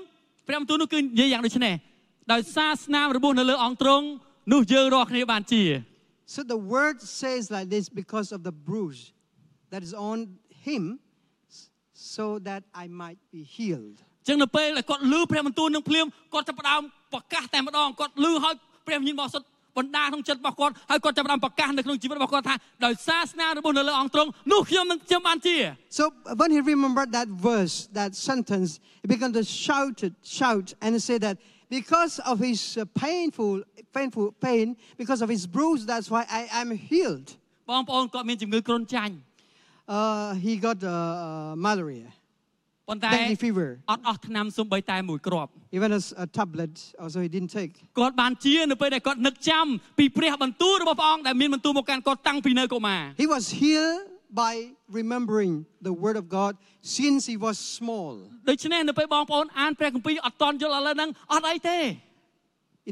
[SPEAKER 2] ព្រះបន្ទូលនោះគឺនិយាយយ៉ាងដូចនេះដោយសារស្នាមរបួសនៅលើអង្គទ្រង់នោះយើងរាល់គ្នាបានជា
[SPEAKER 3] So the word says like this because of the bruise that is on him, s- so that I might be healed.
[SPEAKER 2] អញ្ចឹងនៅពេលដែលគាត់ឮព្រះបន្ទូលនឹងភ្លាមគាត់ចាប់ផ្ដើមប្រកាសតែម្ដងគាត់ឮហើយព្រះវិញ្ញាណបរិសុទ្ធបណ្ដាក្នុងចិត្តរបស់គាត់ហើយគាត់ចាប់ផ្ដើមប្រកាសនៅក្នុងជីវិតរបស់គាត់ថាដោយសារស្នាមរបួសនៅលើអង្គទ្រង់នោះខ្ញុំនឹងខ្ញុំបានជា
[SPEAKER 3] So when he remembered that verse, that sentence, he began to shout it, shout, and say that because of his uh, painful, painful pain, because of his bruise, that's why I am healed.
[SPEAKER 2] បងប្អូនគាត់មានជំងឺគ្រុនចាញ់
[SPEAKER 3] Uh, he got uh, uh, malaria,
[SPEAKER 2] ប៉ុន្តែ
[SPEAKER 3] dengue fever,
[SPEAKER 2] អត់អស់ថ្នាំសូម្បីតែមួយគ្រាប់
[SPEAKER 3] even as a tablet, also he didn't take.
[SPEAKER 2] គាត់បានជានៅពេលដែលគាត់នឹកចាំពីព្រះបន្ទូលរបស់ព្រះអង្គដែលមានបន្ទូលមកកាន់គាត់តាំងពីនៅកុមារ
[SPEAKER 3] He was healed by remembering the word of God since he was small.
[SPEAKER 2] ដូច្នេះនៅពេលបងប្អូនអានព្រះគម្ពីរអត់តន់យល់ឥឡូវហ្នឹងអត់អីទេ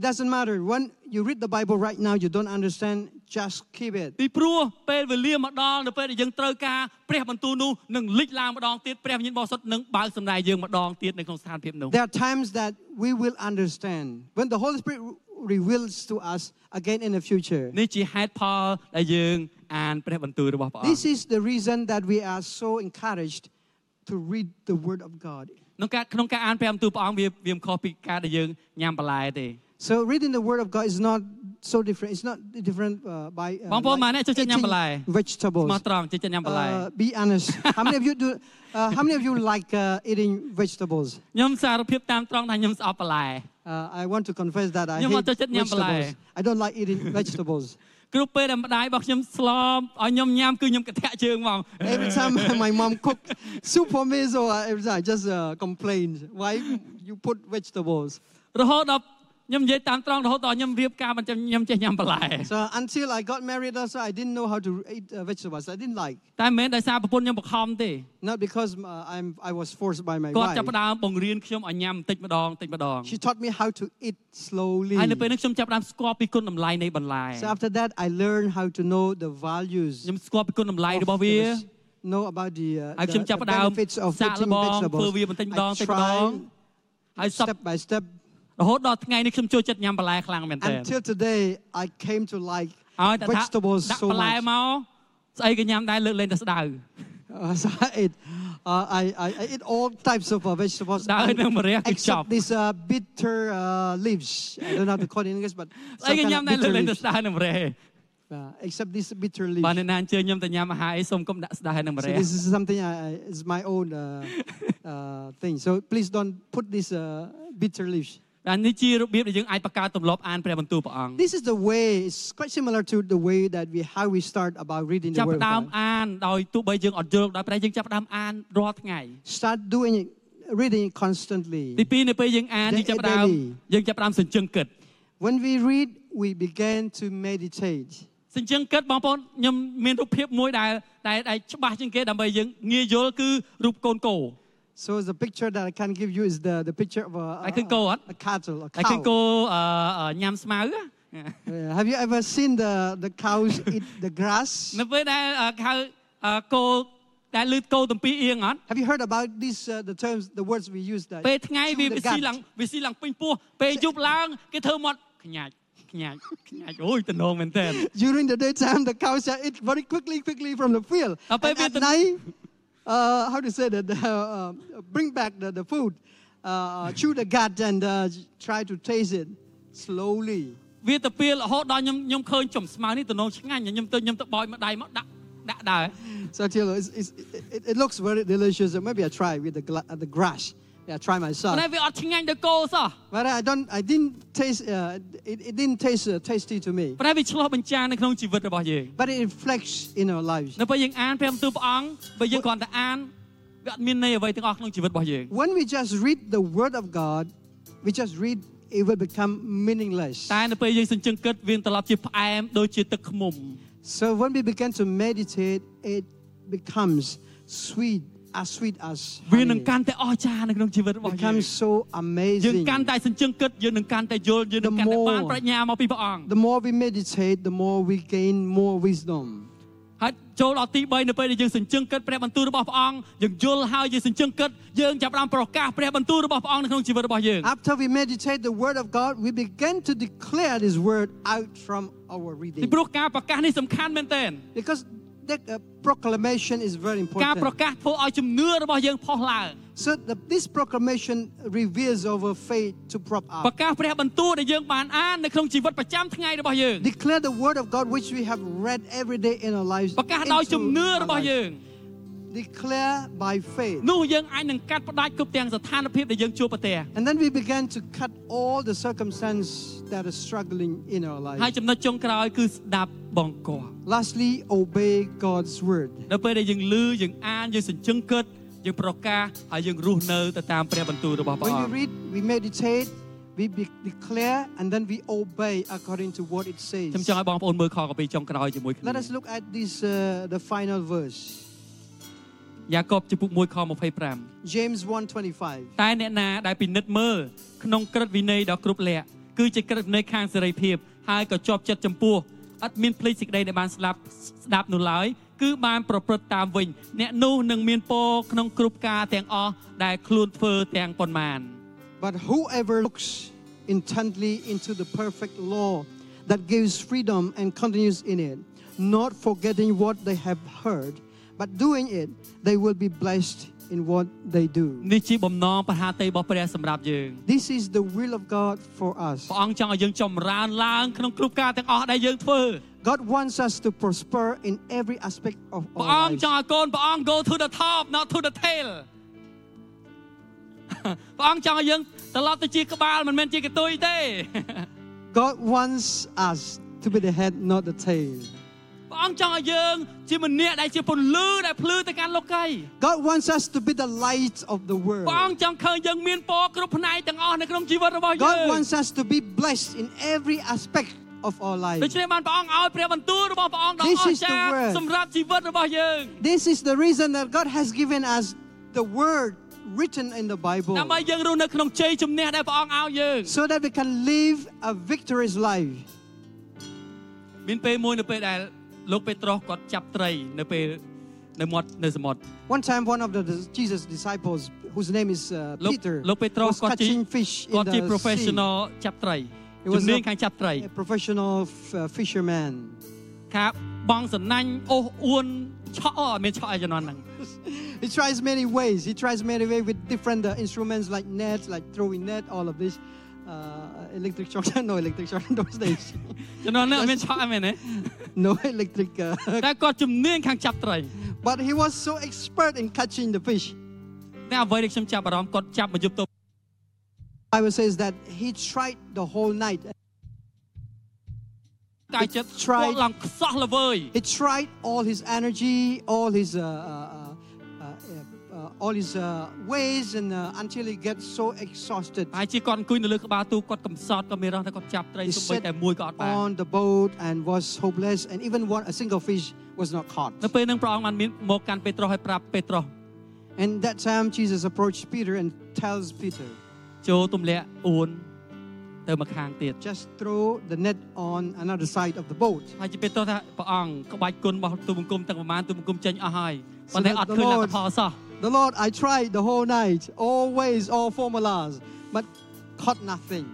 [SPEAKER 3] It doesn't matter. When you read the Bible right now, you don't understand, just keep it.
[SPEAKER 2] ពីព្រោះពេលវេលាមកដល់នៅពេលដែលយើងត្រូវការព្រះបន្ទូលនោះនឹងលេចឡើងម្ដងទៀតព្រះវិញ្ញាណបរិសុទ្ធនឹងបើកសម្ដែងយើងម្ដងទៀតនៅក្នុងស្ថានភាពនោះ
[SPEAKER 3] There are times that we will understand when the Holy Spirit re- reveals to us again in the future.
[SPEAKER 2] នេះជាហេតុផលដែលយើងអានព្រះបន្ទូលរបស់ព្រះអង្គ
[SPEAKER 3] This is the reason that we are so encouraged to read the Word of God.
[SPEAKER 2] ក្នុងការក្នុងការអានព្រះបន្ទូលព្រះអង្គវាវាមិនខុសពីការដែលយើងញ៉ាំបន្លែទេ
[SPEAKER 3] So reading the Word of God is not so different. It's not different uh, by uh,
[SPEAKER 2] បងប្អូនម៉ែអ្នកចូលចិត្តញ៉ាំ
[SPEAKER 3] eating
[SPEAKER 2] បន្លែ? ស្មោះ
[SPEAKER 3] vegetables.
[SPEAKER 2] ត្រង់ចិត្តញ៉ាំបន្លែ
[SPEAKER 3] Uh, be honest. How many of you do? Uh, how many of you like uh, eating vegetables?
[SPEAKER 2] ខ្ញុំសារភាពតាមត្រង់ថាខ្ញុំស្អប់បន្លែ
[SPEAKER 3] Uh, I want to confess that I
[SPEAKER 2] Nhưng mà
[SPEAKER 3] hate
[SPEAKER 2] tôi thích nhâm bà
[SPEAKER 3] vegetables.
[SPEAKER 2] lại.
[SPEAKER 3] I don't like eating vegetables.
[SPEAKER 2] គ្រប់ពេលដែលម្ដាយរបស់ខ្ញុំស្លមឲ្យខ្ញុំញ៉ាំគឺខ្ញុំកន្ធាក់ជើងមក
[SPEAKER 3] Every time my mom cooked soup for me, so I, every time I just uh, complained why you put vegetables.
[SPEAKER 2] រហូតដល់ខ្ញុំនិយាយតាមត្រង់រហូតដល់ខ្ញុំរៀបការមិនចាំខ្ញុំចេះញ៉ាំបន្លែ
[SPEAKER 3] So until I got married, also I didn't know how to eat uh, vegetables. I didn't like
[SPEAKER 2] តែមិនមែនដោយសារប្រពន្ធខ្ញុំបង្ខំទេ
[SPEAKER 3] not because uh, I'm I was forced by my
[SPEAKER 2] គាត់ចាប់
[SPEAKER 3] wife.
[SPEAKER 2] ផ្ដើមបង្រៀនខ្ញុំឲ្យញ៉ាំបន្តិចម្ដងបន្តិចម្ដង
[SPEAKER 3] She taught me how to eat slowly.
[SPEAKER 2] ហើយនៅពេលនេះខ្ញុំចាប់ផ្ដើមស្គាល់ពីគុណតម្លៃនៃបន្លែ
[SPEAKER 3] So after that, I learned how to know the values.
[SPEAKER 2] ខ្ញុំស្គាល់ពីគុណតម្លៃរបស់វា
[SPEAKER 3] Yes. know about the, uh,
[SPEAKER 2] ហើយ
[SPEAKER 3] the,
[SPEAKER 2] ខ្ញុំចាប់
[SPEAKER 3] the
[SPEAKER 2] ផ្ដើម
[SPEAKER 3] benefits of
[SPEAKER 2] សាក
[SPEAKER 3] eating
[SPEAKER 2] ល្បងធ្វើវា
[SPEAKER 3] vegetables.
[SPEAKER 2] បន្តិចម្ដង
[SPEAKER 3] I
[SPEAKER 2] បន្តិចម្ដង
[SPEAKER 3] tried
[SPEAKER 2] ហើយសព
[SPEAKER 3] step by step
[SPEAKER 2] រហូតដល់ថ្ងៃនេះខ្ញុំចូលចិត្តញ៉ាំបន្លែខ្លាំងមែនទែន
[SPEAKER 3] until today I came to like
[SPEAKER 2] ឲ្យតែថាដាក់
[SPEAKER 3] vegetables so
[SPEAKER 2] បន្លែ
[SPEAKER 3] much.
[SPEAKER 2] មកស្អីក៏ញ៉ាំដែរលើកលែងតែស្ដៅ
[SPEAKER 3] Uh, so I eat, uh, I, I, I eat all types of uh, vegetables
[SPEAKER 2] ស្ដៅ
[SPEAKER 3] and
[SPEAKER 2] នឹងមរះគឺចប់
[SPEAKER 3] except these uh, bitter uh, leaves. I don't know how to call it in English, but
[SPEAKER 2] ស្អី
[SPEAKER 3] some
[SPEAKER 2] ក៏
[SPEAKER 3] kind
[SPEAKER 2] ញ៉ាំ
[SPEAKER 3] of
[SPEAKER 2] ដែរ
[SPEAKER 3] bitter
[SPEAKER 2] លើកលែងតែ
[SPEAKER 3] leaves.
[SPEAKER 2] ស្ដៅនឹងមរះ
[SPEAKER 3] Uh, except these bitter
[SPEAKER 2] បើ
[SPEAKER 3] leaves.
[SPEAKER 2] អ្នកណាអញ្ជើញខ្ញុំទៅញ៉ាំអាហារអីសូមកុំដាក់ស្ដៅនឹងម
[SPEAKER 3] So
[SPEAKER 2] រះ
[SPEAKER 3] this is something I, I, is my own uh, uh, thing. So please don't put these uh, bitter leaves.
[SPEAKER 2] អានេះជារបៀបដែលយើងអាចបង្កើតទម្លាប់អានព្រះបន្ទូលព្រះអង្គ
[SPEAKER 3] This is the way. It's quite similar to the way that we how we start about reading the
[SPEAKER 2] ចាប់
[SPEAKER 3] Word
[SPEAKER 2] ផ្ដើម
[SPEAKER 3] of God.
[SPEAKER 2] អានដោយទោះបីយើងអត់យល់ដោយប្រែយើងចាប់ផ្ដើមអានរាល់ថ្ងៃ
[SPEAKER 3] Start doing it, reading it
[SPEAKER 2] ទី
[SPEAKER 3] constantly.
[SPEAKER 2] ពីរនៅពេលយើងអានយើងចាប់ផ្ដើម
[SPEAKER 3] Daily.
[SPEAKER 2] យើងចាប់ផ្ដើមសញ្ជឹងគិត
[SPEAKER 3] When we read, we begin to meditate.
[SPEAKER 2] សញ្ជឹងគិតបងប្អូនខ្ញុំមានរូបភាពមួយដែលដែលដែលច្បាស់ជាងគេដើម្បីយើងងាយយល់គឺរូបកូនកោ
[SPEAKER 3] So the picture that I can give you is the, the picture of a, a,
[SPEAKER 2] can go on.
[SPEAKER 3] a cattle, a
[SPEAKER 2] តែឃើញ
[SPEAKER 3] cow.
[SPEAKER 2] គោអឺញ៉ាំស្មៅណា
[SPEAKER 3] Yeah. Have you ever seen the, the cows eat the grass?
[SPEAKER 2] នៅពេលដែលអឺហៅអឺគោដែលលឺគោទំពីអៀងអត់
[SPEAKER 3] Have you heard about these uh, the terms, the words we use? That
[SPEAKER 2] ពេលថ្ងៃ
[SPEAKER 3] chew
[SPEAKER 2] វា
[SPEAKER 3] the
[SPEAKER 2] វាស៊ី
[SPEAKER 3] gut.
[SPEAKER 2] ឡើងវាស៊ីឡើងពេញពោះពេលយប់ឡើងគេធ្វើមាត់ខ្ញាច់ខ្ញាច់ខ្ញាច់អូយតំណងមែនតើ
[SPEAKER 3] During the daytime, the cows are eat very quickly, quickly from the field.
[SPEAKER 2] Apa
[SPEAKER 3] And
[SPEAKER 2] yang
[SPEAKER 3] at
[SPEAKER 2] dia tem-
[SPEAKER 3] night, uh, how to say that? Uh, uh, bring back the, the food, uh, uh, chew the gut, and uh, try to taste it slowly.
[SPEAKER 2] វាទៅពេលរហូតដល់ខ្ញុំខ្ញុំឃើញចំស្មៅនេះតំណងឆ្ងាញ់ខ្ញុំទៅខ្ញុំទៅបោយមួយដៃមកដាក់ដាក់ដែរ
[SPEAKER 3] So I tell you, it's, it's, it, it looks very delicious. and Maybe I try with the, gla- uh, the grass. Yeah, I try
[SPEAKER 2] ប៉ុ
[SPEAKER 3] myself.
[SPEAKER 2] ន្តែវាអត់ឆ្ងាញ់ដល់គោសោះ
[SPEAKER 3] But I don't. I didn't taste. Uh, it, it didn't taste uh, tasty to me.
[SPEAKER 2] ប៉ុន្តែវាឆ្លោះបញ្ចាំងនៅក្នុងជីវិតរបស់យើង
[SPEAKER 3] But it reflects in our lives.
[SPEAKER 2] នៅពេលយើងអានព្រះបន្ទូលព្រះអង្គបើយើងគ្រាន់តែអានវាអត់មានន័យអ្វីទាំងអស់ក្នុងជីវិតរបស់យើង
[SPEAKER 3] When we just read the Word of God, we just read. It will become meaningless.
[SPEAKER 2] តែនៅពេលយើងសញ្ជឹងគិតវានឹងត្រឡប់ជាផ្អែមដូចជាទឹកឃ្មុំ
[SPEAKER 3] So when we begin to meditate, it becomes sweet, as sweet as
[SPEAKER 2] វានឹង
[SPEAKER 3] honey.
[SPEAKER 2] កាន់តែអស្ចារ្យនៅក្នុងជីវិតរបស់យើង
[SPEAKER 3] becomes
[SPEAKER 2] យើ
[SPEAKER 3] so
[SPEAKER 2] ង
[SPEAKER 3] amazing.
[SPEAKER 2] កាន់តែសញ្ជឹងគិតយើងនឹងកាន់តែយល់យើងនឹង
[SPEAKER 3] The
[SPEAKER 2] កាន់តែបាន
[SPEAKER 3] more-
[SPEAKER 2] ប្រាជ្ញាមកពីព្រះអង្គ
[SPEAKER 3] The more we meditate, the more we gain more wisdom.
[SPEAKER 2] ហ ហើយចូលដល់ទី3នៅពេលដែលយើងសញ្ជឹងគិតព្រះបន្ទូលរបស់ព្រះអង្គយើងយល់ហើយយើងសញ្ជឹងគិតយើងចាប់ផ្ដើមប្រកាសព្រះបន្ទូលរបស់ព្រះអង្គនៅក្នុងជីវិតរបស់យើង
[SPEAKER 3] After we meditate the word of God, we begin to declare this word out from our
[SPEAKER 2] ពី
[SPEAKER 3] reading.
[SPEAKER 2] ព្រោះការប្រកាសនេះសំខាន់មែនទែន
[SPEAKER 3] Because the uh, proclamation is very
[SPEAKER 2] ការប្រ
[SPEAKER 3] important.
[SPEAKER 2] កាសធ្វើឲ្យជំនឿរបស់យើងផុសឡើង
[SPEAKER 3] So the, this proclamation reveals our faith to prop
[SPEAKER 2] ប្រ
[SPEAKER 3] up.
[SPEAKER 2] កាសព្រះបន្ទូលដែលយើងបានអាននៅក្នុងជីវិតប្រចាំថ្ងៃរបស់យើង
[SPEAKER 3] Declare the word of God which we have read every day in our lives.
[SPEAKER 2] ប្រកាសដោយ
[SPEAKER 3] into
[SPEAKER 2] ជំនឿ
[SPEAKER 3] our
[SPEAKER 2] របស់
[SPEAKER 3] lives.
[SPEAKER 2] យើង
[SPEAKER 3] Declare by faith.
[SPEAKER 2] នោះយើងអាចនឹងកាត់ផ្ដាច់គ្រប់ទាំងស្ថានភាពដែលយើងជួបប្រទះ
[SPEAKER 3] And then we began to cut all the circumstance that is struggling in our
[SPEAKER 2] ហើយ
[SPEAKER 3] life.
[SPEAKER 2] ចំណុចចុងក្រោយគឺស្ដាប់បង្គាប់
[SPEAKER 3] Lastly, obey God's word.
[SPEAKER 2] នៅពេលដែលយើងឮយើងអានយើងសញ្ជឹងគិតយើងប្រកាសហើយយើងរស់នៅទៅតាមព្រះបន្ទូលរបស់ព្រះ
[SPEAKER 3] When
[SPEAKER 2] អ
[SPEAKER 3] we
[SPEAKER 2] ង្គ
[SPEAKER 3] read, we meditate, we be- declare, and then we obey according to what it
[SPEAKER 2] ខ្ញុំចង់
[SPEAKER 3] says.
[SPEAKER 2] ឲ្យបងប្អូនមើលខកពីចុងក្រោយជាមួយគ្នា
[SPEAKER 3] Let us look at this, uh, the final verse,
[SPEAKER 2] យ៉ាកបជំពូក1ខ25
[SPEAKER 3] James 1:25.
[SPEAKER 2] តែអ្នកណាដែលពិនិត្យមើលក្នុងក្រឹតវិន័យដ៏គ្រប់លក្ខណ៍គឺជាក្រឹតវិន័យខាងសេរីភាពហើយក៏ជាប់ចិត្តចំពោះអត់មានភ្លេចសេចក្តីដែលបានស្លាប់ស្ដាប់នោះឡើយគឺបានប្រព្រឹត្តតាមវិញ អ្នកនោះនឹងមានពរក្នុងគ្រប់ការទាំងអស់ដែលខ្លួនធ្វើទាំងប៉ុន្មាន
[SPEAKER 3] But whoever looks intently into the perfect law that gives freedom and continues in it, not forgetting what they have heard, but doing it, they will be blessed in what they do.
[SPEAKER 2] នេះជាបំណងប្រហាតីរបស់ព្រះសម្រាប់យើង
[SPEAKER 3] This is the will of God for us.
[SPEAKER 2] ព្រះអង្គចង់ឲ្យយើងចម្រើនឡើងក្នុងគ្រប់ការទាំងអស់ដែលយើងធ្វើ
[SPEAKER 3] God wants us to prosper in every aspect of
[SPEAKER 2] ព្រះអ
[SPEAKER 3] our
[SPEAKER 2] ង្គ
[SPEAKER 3] lives.
[SPEAKER 2] ចង់ឲ្យកូនព្រះអង្គ go to the top not to the tail ព្រះអង្គចង់ឲ្យយើងត្រឡប់ទៅជាក្បាលមិនមែនជាកតុយ ទេ
[SPEAKER 3] God wants us to be the head, not the tail.
[SPEAKER 2] ព្រះអង្គចង់ឲ្យយើង ជាម្នាក់ដែលជាពន្លឺដែលភ្លឺទៅកាន់លោកី
[SPEAKER 3] God wants us to be the light of the
[SPEAKER 2] ព្រះអង្គ
[SPEAKER 3] world.
[SPEAKER 2] ចង់ឃើញយើងមានពរគ្រប់ផ្នែកទាំងអស់នៅក្នុងជីវិតរបស់យើង
[SPEAKER 3] God wants us to be blessed in every aspect of our
[SPEAKER 2] ដូ
[SPEAKER 3] life.
[SPEAKER 2] ច្នេះបានព្រះអង្គឲ្យព្រះបន្ទូលរបស់ព្រះអង្គដ៏
[SPEAKER 3] This
[SPEAKER 2] អ
[SPEAKER 3] is the
[SPEAKER 2] ស្ចារ្យ
[SPEAKER 3] word.
[SPEAKER 2] សម្រាប់ជីវិតរបស់យើង
[SPEAKER 3] This is the reason that God has given us the word written in the Bible
[SPEAKER 2] ដើម្បីយើងរស់នៅក្នុងជ័យជំនះដែលព្រះអង្គឲ្យយើង
[SPEAKER 3] so that we can live a victorious life.
[SPEAKER 2] មានពេលមួយនៅពេលដែលលោកពេត្រុសគាត់ចាប់ត្រីនៅពេលនៅមាត់នៅសមុទ្រ
[SPEAKER 3] One time, one of the the Jesus' disciples, whose name is uh,
[SPEAKER 2] លោក
[SPEAKER 3] Peter,
[SPEAKER 2] លោកពេត្រុស
[SPEAKER 3] was
[SPEAKER 2] គាត់ជា
[SPEAKER 3] catching fish
[SPEAKER 2] គា
[SPEAKER 3] in
[SPEAKER 2] ត់ជា
[SPEAKER 3] the sea.
[SPEAKER 2] professional ចាប់ត្រី
[SPEAKER 3] He
[SPEAKER 2] ជំ
[SPEAKER 3] was
[SPEAKER 2] នាញ
[SPEAKER 3] a-
[SPEAKER 2] ខាងចាប់ត្រី
[SPEAKER 3] A professional f- uh, fisherman.
[SPEAKER 2] ថាបងសំណាញ់អូសអួនឆក់អូអត់មានឆក់ឯជំនាន់ហ្នឹង
[SPEAKER 3] He tries many ways. He tries many ways with different uh, instruments like nets, like throwing net, all of this. Uh, electric shock, no electric shock in those days.
[SPEAKER 2] ជំនាន់ហ្នឹងអត់មានឆក់ឯមែនទេ
[SPEAKER 3] no electric. Uh,
[SPEAKER 2] តែគាត់ជំនាញខាងចាប់ត្រី
[SPEAKER 3] but he was so expert in catching the fish.
[SPEAKER 2] តែអ្វីដែលខ្ញុំចាប់អារម្មណ៍គាត់ចាប់មកយប់ទៅ
[SPEAKER 3] Bible says that he tried the whole night.
[SPEAKER 2] កាយចិត្ត
[SPEAKER 3] Try-
[SPEAKER 2] គាត់ឡើងខ្សោះល្វើយ
[SPEAKER 3] He tried all his energy, all his uh, uh, uh, uh, uh, all his uh, ways, and uh, until he gets so exhausted
[SPEAKER 2] ហើយជាគាត់អង្គុយនៅលើក្បាលទូកគាត់កំសត់ក៏មានរស់តែគាត់ចាប់ត្រី
[SPEAKER 3] He
[SPEAKER 2] សូម្បីតែមួយក៏អត់បាន
[SPEAKER 3] on the boat and was hopeless, and even one a single fish was not caught.
[SPEAKER 2] នៅពេលហ្នឹងព្រះអង្គបានមានមកកាន់ពេត្រុសឲ្យប្រាប់ពេត្រុស
[SPEAKER 3] And that time Jesus approached Peter and tells Peter,
[SPEAKER 2] ចូលទម្លាក់អួនទៅមកខាងទៀត
[SPEAKER 3] just throw the net on another side of the boat.
[SPEAKER 2] ហើយជាពេលទោះថាព្រះអង្គក្បាច់គុណរបស់ទូលបង្គំទាំងប្រមាណទូលបង្គំចេញអស់ហើយ
[SPEAKER 3] So
[SPEAKER 2] ប៉ុន្តែ
[SPEAKER 3] that
[SPEAKER 2] អត់
[SPEAKER 3] the
[SPEAKER 2] ឃើញល
[SPEAKER 3] Lord-
[SPEAKER 2] ទ្ធផលសោះ
[SPEAKER 3] The Lord, I tried the whole night, all ways, all formulas, but caught nothing.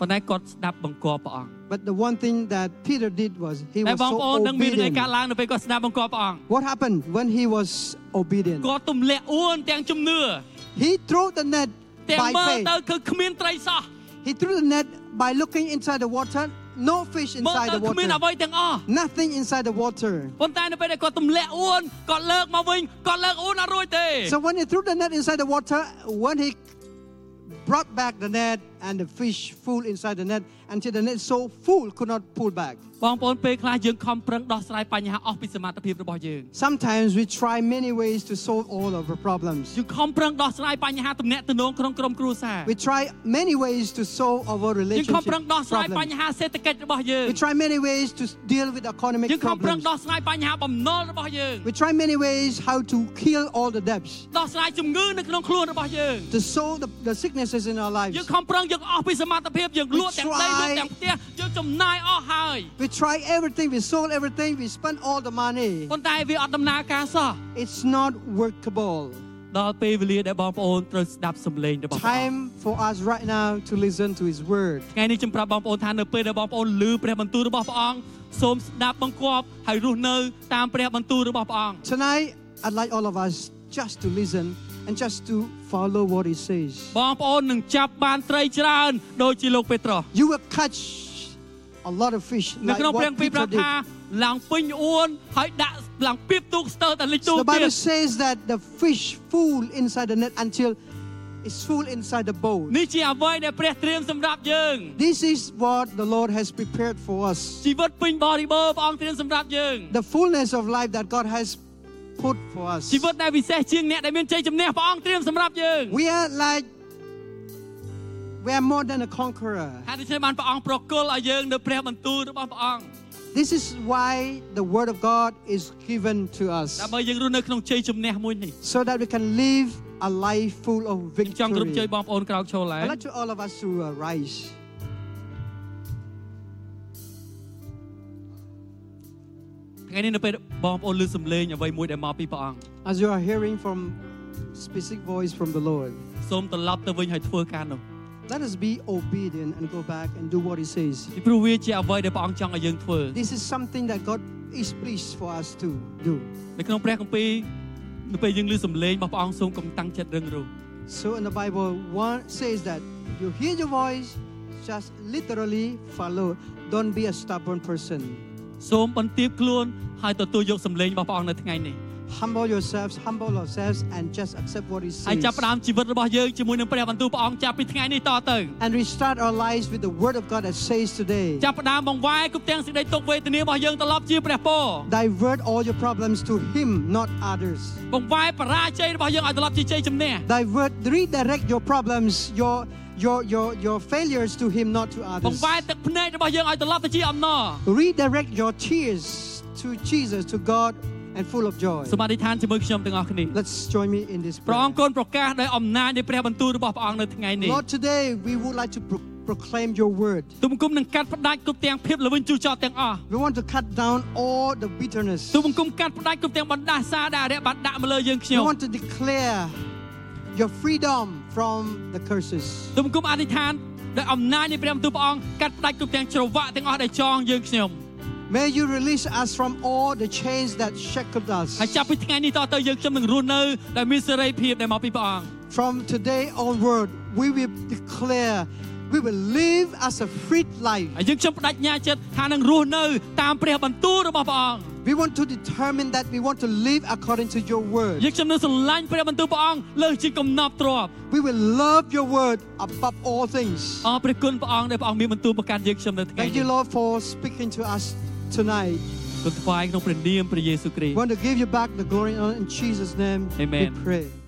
[SPEAKER 2] ប៉ុន្តែគាត់ស្ដាប់បង្គាប់ព្រះអង្គ
[SPEAKER 3] But the one thing that Peter did was he
[SPEAKER 2] តែ
[SPEAKER 3] was
[SPEAKER 2] បង
[SPEAKER 3] so
[SPEAKER 2] ប្អូននឹងមានរឿងកើត
[SPEAKER 3] obedient.
[SPEAKER 2] ឡើងនៅពេលគាត់ស្ដាប់បង្គាប់ព្រះអង្គ
[SPEAKER 3] What happened when he was obedient?
[SPEAKER 2] គាត់ទម្លាក់អួនទាំងជំនឿ
[SPEAKER 3] He threw the net
[SPEAKER 2] ទាំង
[SPEAKER 3] by
[SPEAKER 2] មើល
[SPEAKER 3] faith.
[SPEAKER 2] ទៅគឺគ្មានត្រីសោះ
[SPEAKER 3] He threw the net by looking inside the water. No fish
[SPEAKER 2] មើល
[SPEAKER 3] inside
[SPEAKER 2] ទៅ
[SPEAKER 3] the
[SPEAKER 2] គ្មាន
[SPEAKER 3] water.
[SPEAKER 2] អ្វីទាំងអស់
[SPEAKER 3] Nothing inside the water.
[SPEAKER 2] ប៉ុន្តែនៅពេលដែលគាត់ទម្លាក់អួនគាត់លើកមកវិញគាត់លើកអួនអត់រួចទេ
[SPEAKER 3] So when he threw the net inside the water, when he brought back the net and the fish full inside the net until the net so full could not pull back.
[SPEAKER 2] បងប្អូនពេលខ្លះយើងខំប្រឹងដោះស្រាយបញ្ហាអស់ពីសមត្ថភាពរបស់យើង
[SPEAKER 3] Sometimes we try many ways to solve all of our problems.
[SPEAKER 2] យើងខំប្រឹងដោះស្រាយបញ្ហាទំនាក់ទំនងក្នុងក្រុមគ្រួសារ
[SPEAKER 3] We try many ways to solve our
[SPEAKER 2] យើង
[SPEAKER 3] relationship
[SPEAKER 2] ខំប្រឹងដោះស្រាយប
[SPEAKER 3] problems.
[SPEAKER 2] ញ្ហាសេដ្ឋកិច្ចរបស់យើង
[SPEAKER 3] We try many ways to deal with
[SPEAKER 2] យើ
[SPEAKER 3] economic
[SPEAKER 2] ងខំប្រឹង
[SPEAKER 3] problems.
[SPEAKER 2] ដោះស្រាយបញ្ហាបំណុលរបស់យើង
[SPEAKER 3] We try many ways how to kill all the debts,
[SPEAKER 2] ដោះស្រាយជំងឺនៅក្នុងខ្លួនរបស់យើង
[SPEAKER 3] to solve the, the sicknesses resources in our
[SPEAKER 2] យើង
[SPEAKER 3] lives.
[SPEAKER 2] ខំប្រឹងយើងអស់ពីសមត្ថភាពយើងលក់ទាំងដីលក់ទាំងផ្ទះយើងចំណាយអស់ហើយ
[SPEAKER 3] We try everything, we sold everything, we spent all the money.
[SPEAKER 2] ប៉ុន្តែវាអត់ដំណើរការសោះ
[SPEAKER 3] It's not workable.
[SPEAKER 2] ដល់ពេលវេលាដែលបងប្អូនត្រូវស្ដាប់សំឡេងរបស់ព្រះអង្គ
[SPEAKER 3] Time for us right now to listen to His word.
[SPEAKER 2] ថ្ងៃនេះខ្ញុំប្រាប់បងប្អូនថានៅពេលដែលបងប្អូនឮព្រះបន្ទូលរបស់ព្រះអង្គសូមស្ដាប់បង្គាប់ហើយរស់នៅតាមព្រះបន្ទូលរបស់ព្រះអង្គ
[SPEAKER 3] Tonight, I'd like all of us just to listen and just to follow what He says.
[SPEAKER 2] បងប្អូននឹងចាប់បានត្រីច្រើនដោយជាលោកពេត្រុស
[SPEAKER 3] You will catch a lot of fish
[SPEAKER 2] នៅ
[SPEAKER 3] like
[SPEAKER 2] ក្នុងព្រះ
[SPEAKER 3] what
[SPEAKER 2] គម្ពីរប្រាប់
[SPEAKER 3] Peter did.
[SPEAKER 2] ថាឡើងពេញអួនហើយដាក់ឡើងពីបទូកស្ទើរតែលិចទូក
[SPEAKER 3] The
[SPEAKER 2] ទៀត
[SPEAKER 3] Bible says that the fish full inside the net until it's full inside the boat.
[SPEAKER 2] នេះជាអ្វីដែលព្រះត្រៀមសម្រាប់យើង
[SPEAKER 3] This is what the Lord has prepared for us.
[SPEAKER 2] ជីវិតពេញបរិបូរណ៍ព្រះអង្គត្រៀមសម្រាប់យើង
[SPEAKER 3] The fullness of life that God has put for us.
[SPEAKER 2] ជីវិតដែលពិសេសជាងអ្នកដែលមានជ័យជំនះព្រះអង្គត្រៀមសម្រាប់យើង
[SPEAKER 3] We are like, we are more than a conqueror.
[SPEAKER 2] ហើយដូច្នេះបានព្រះអង្គប្រគល់ឲ្យយើងនៅព្រះបន្ទូលរបស់ព្រះអង្គ
[SPEAKER 3] This is why the Word of God is given to us,
[SPEAKER 2] ដើម្បីយើងរស់នៅក្នុងជ័យជំនះមួយនេះ
[SPEAKER 3] so that we can live a life full of
[SPEAKER 2] ចង់ក្រុមជ័យ
[SPEAKER 3] victory.
[SPEAKER 2] បងប្អូនក្រោកឈរឡើង
[SPEAKER 3] I'd like to all of us to uh, rise.
[SPEAKER 2] ថ្ងៃនេះនៅពេលបងប្អូនលើសំឡេងអ្វីមួយដែលមកពីព្រះអង្គ
[SPEAKER 3] As you are hearing from specific voice from the Lord,
[SPEAKER 2] សូមត្រឡប់ទៅវិញហើយធ្វើការនោះ
[SPEAKER 3] let us be obedient and go back and do what He says.
[SPEAKER 2] ពីព្រោះវាជាអ្វីដែលព្រះអង្គចង់ឲ្យយើងធ្វើ
[SPEAKER 3] This is something that God is pleased for us to do.
[SPEAKER 2] នៅក្នុងព្រះគម្ពីរនៅពេលយើងលើសំឡេងរបស់ព្រះអង្គសូមកុំតាំងចិត្តរឹងរូស
[SPEAKER 3] So in the Bible, one says that you hear your voice, just literally follow. Don't be a stubborn person.
[SPEAKER 2] សូមបន្ទាបខ្លួនហើយទទួលយកសំឡេងរបស់ព្រះអង្គនៅថ្ងៃនេះ
[SPEAKER 3] Humble yourselves, humble ourselves, and just accept what He
[SPEAKER 2] ហើយ
[SPEAKER 3] says.
[SPEAKER 2] ចាប់ផ្ដើមជីវិតរបស់យើងជាមួយនឹងព្រះបន្ទូលព្រះអង្គចាប់ពីថ្ងៃនេះតទៅ
[SPEAKER 3] And restart our lives with the Word of God that says today.
[SPEAKER 2] ចាប់ផ្ដើមបង្វែរគ្រប់ទាំងសេចក្តីទុក្ខវេទនារបស់យើងត្រឡប់ជាព្រះពរ
[SPEAKER 3] Divert all your problems to Him, not others.
[SPEAKER 2] បង្វែរបរាជ័យរបស់យើងឲ្យត្រឡប់ជាជ័យជំនះ
[SPEAKER 3] Divert, redirect your problems, your your your your failures to Him, not to
[SPEAKER 2] បង្
[SPEAKER 3] others.
[SPEAKER 2] វែរទឹកភ្នែករបស់យើងឲ្យត្រឡប់ទៅជាអំណរ
[SPEAKER 3] Redirect your tears to Jesus, to God, and full of joy.
[SPEAKER 2] សូមអធិដ្ឋានជាមួយខ្ញុំទាំងអស់គ្នា
[SPEAKER 3] Let's join me in this
[SPEAKER 2] ព្រះអ
[SPEAKER 3] prayer.
[SPEAKER 2] ង្គគូនប្រកាសដោយអំណាចនៃព្រះបន្ទូលរបស់ព្រះអង្គនៅថ្ងៃនេះ
[SPEAKER 3] Lord, today we would like to pro- proclaim your word.
[SPEAKER 2] ទុំគុំនឹងកាត់ផ្ដាច់គ្រប់ទាំងភាពល្វីងជូរចោតទាំងអស់
[SPEAKER 3] We want to cut down all the bitterness.
[SPEAKER 2] ទុំគុំកាត់ផ្ដាច់គ្រប់ទាំងបណ្ដាសាដែលអរិយបានដាក់មកលើយើង
[SPEAKER 3] We
[SPEAKER 2] ខ្ញុំ
[SPEAKER 3] want to declare your freedom from the curses.
[SPEAKER 2] ទុំគុំអធិដ្ឋានដោយអំណាចនៃព្រះបន្ទូលព្រះអង្គកាត់ផ្ដាច់គ្រប់ទាំងច្រវាក់ទាំងអស់ដែលចងយើងខ្ញុំ
[SPEAKER 3] May you release us from all the chains that shackled us.
[SPEAKER 2] ហើយចាប់ពីថ្ងៃនេះតទៅយើងខ្ញុំនឹងរស់នៅដោយមានសេរីភាពដែលមកពីព្រះអង្គ
[SPEAKER 3] From today onward, we will declare we will live as a free life.
[SPEAKER 2] ហើយយើងខ្ញុំបដិញ្ញាចិត្តថានឹងរស់នៅតាមព្រះបន្ទូលរបស់ព្រះអង្គ
[SPEAKER 3] We want to determine that we want to live according to your word.
[SPEAKER 2] យើងខ្ញុំនឹងស្រឡាញ់ព្រះបន្ទូលព្រះអង្គលើសជាកំណប់ទ្រព្យ
[SPEAKER 3] We will love your word above all things.
[SPEAKER 2] អរព្រះគុណព្រះអង្គដែលព្រះអង្គមានបន្ទូលប្រកាន់យើងខ្ញុំនៅថ្ងៃ
[SPEAKER 3] Oh, Thank
[SPEAKER 2] នេះ
[SPEAKER 3] you, Lord, for speaking to us tonight.
[SPEAKER 2] គុណថ្វាយក្នុងព្រះនាមព្រះយេស៊ូវគ្រីស្ទ
[SPEAKER 3] We want to give you back the glory and honor in Jesus' name.
[SPEAKER 2] Amen.
[SPEAKER 3] We pray.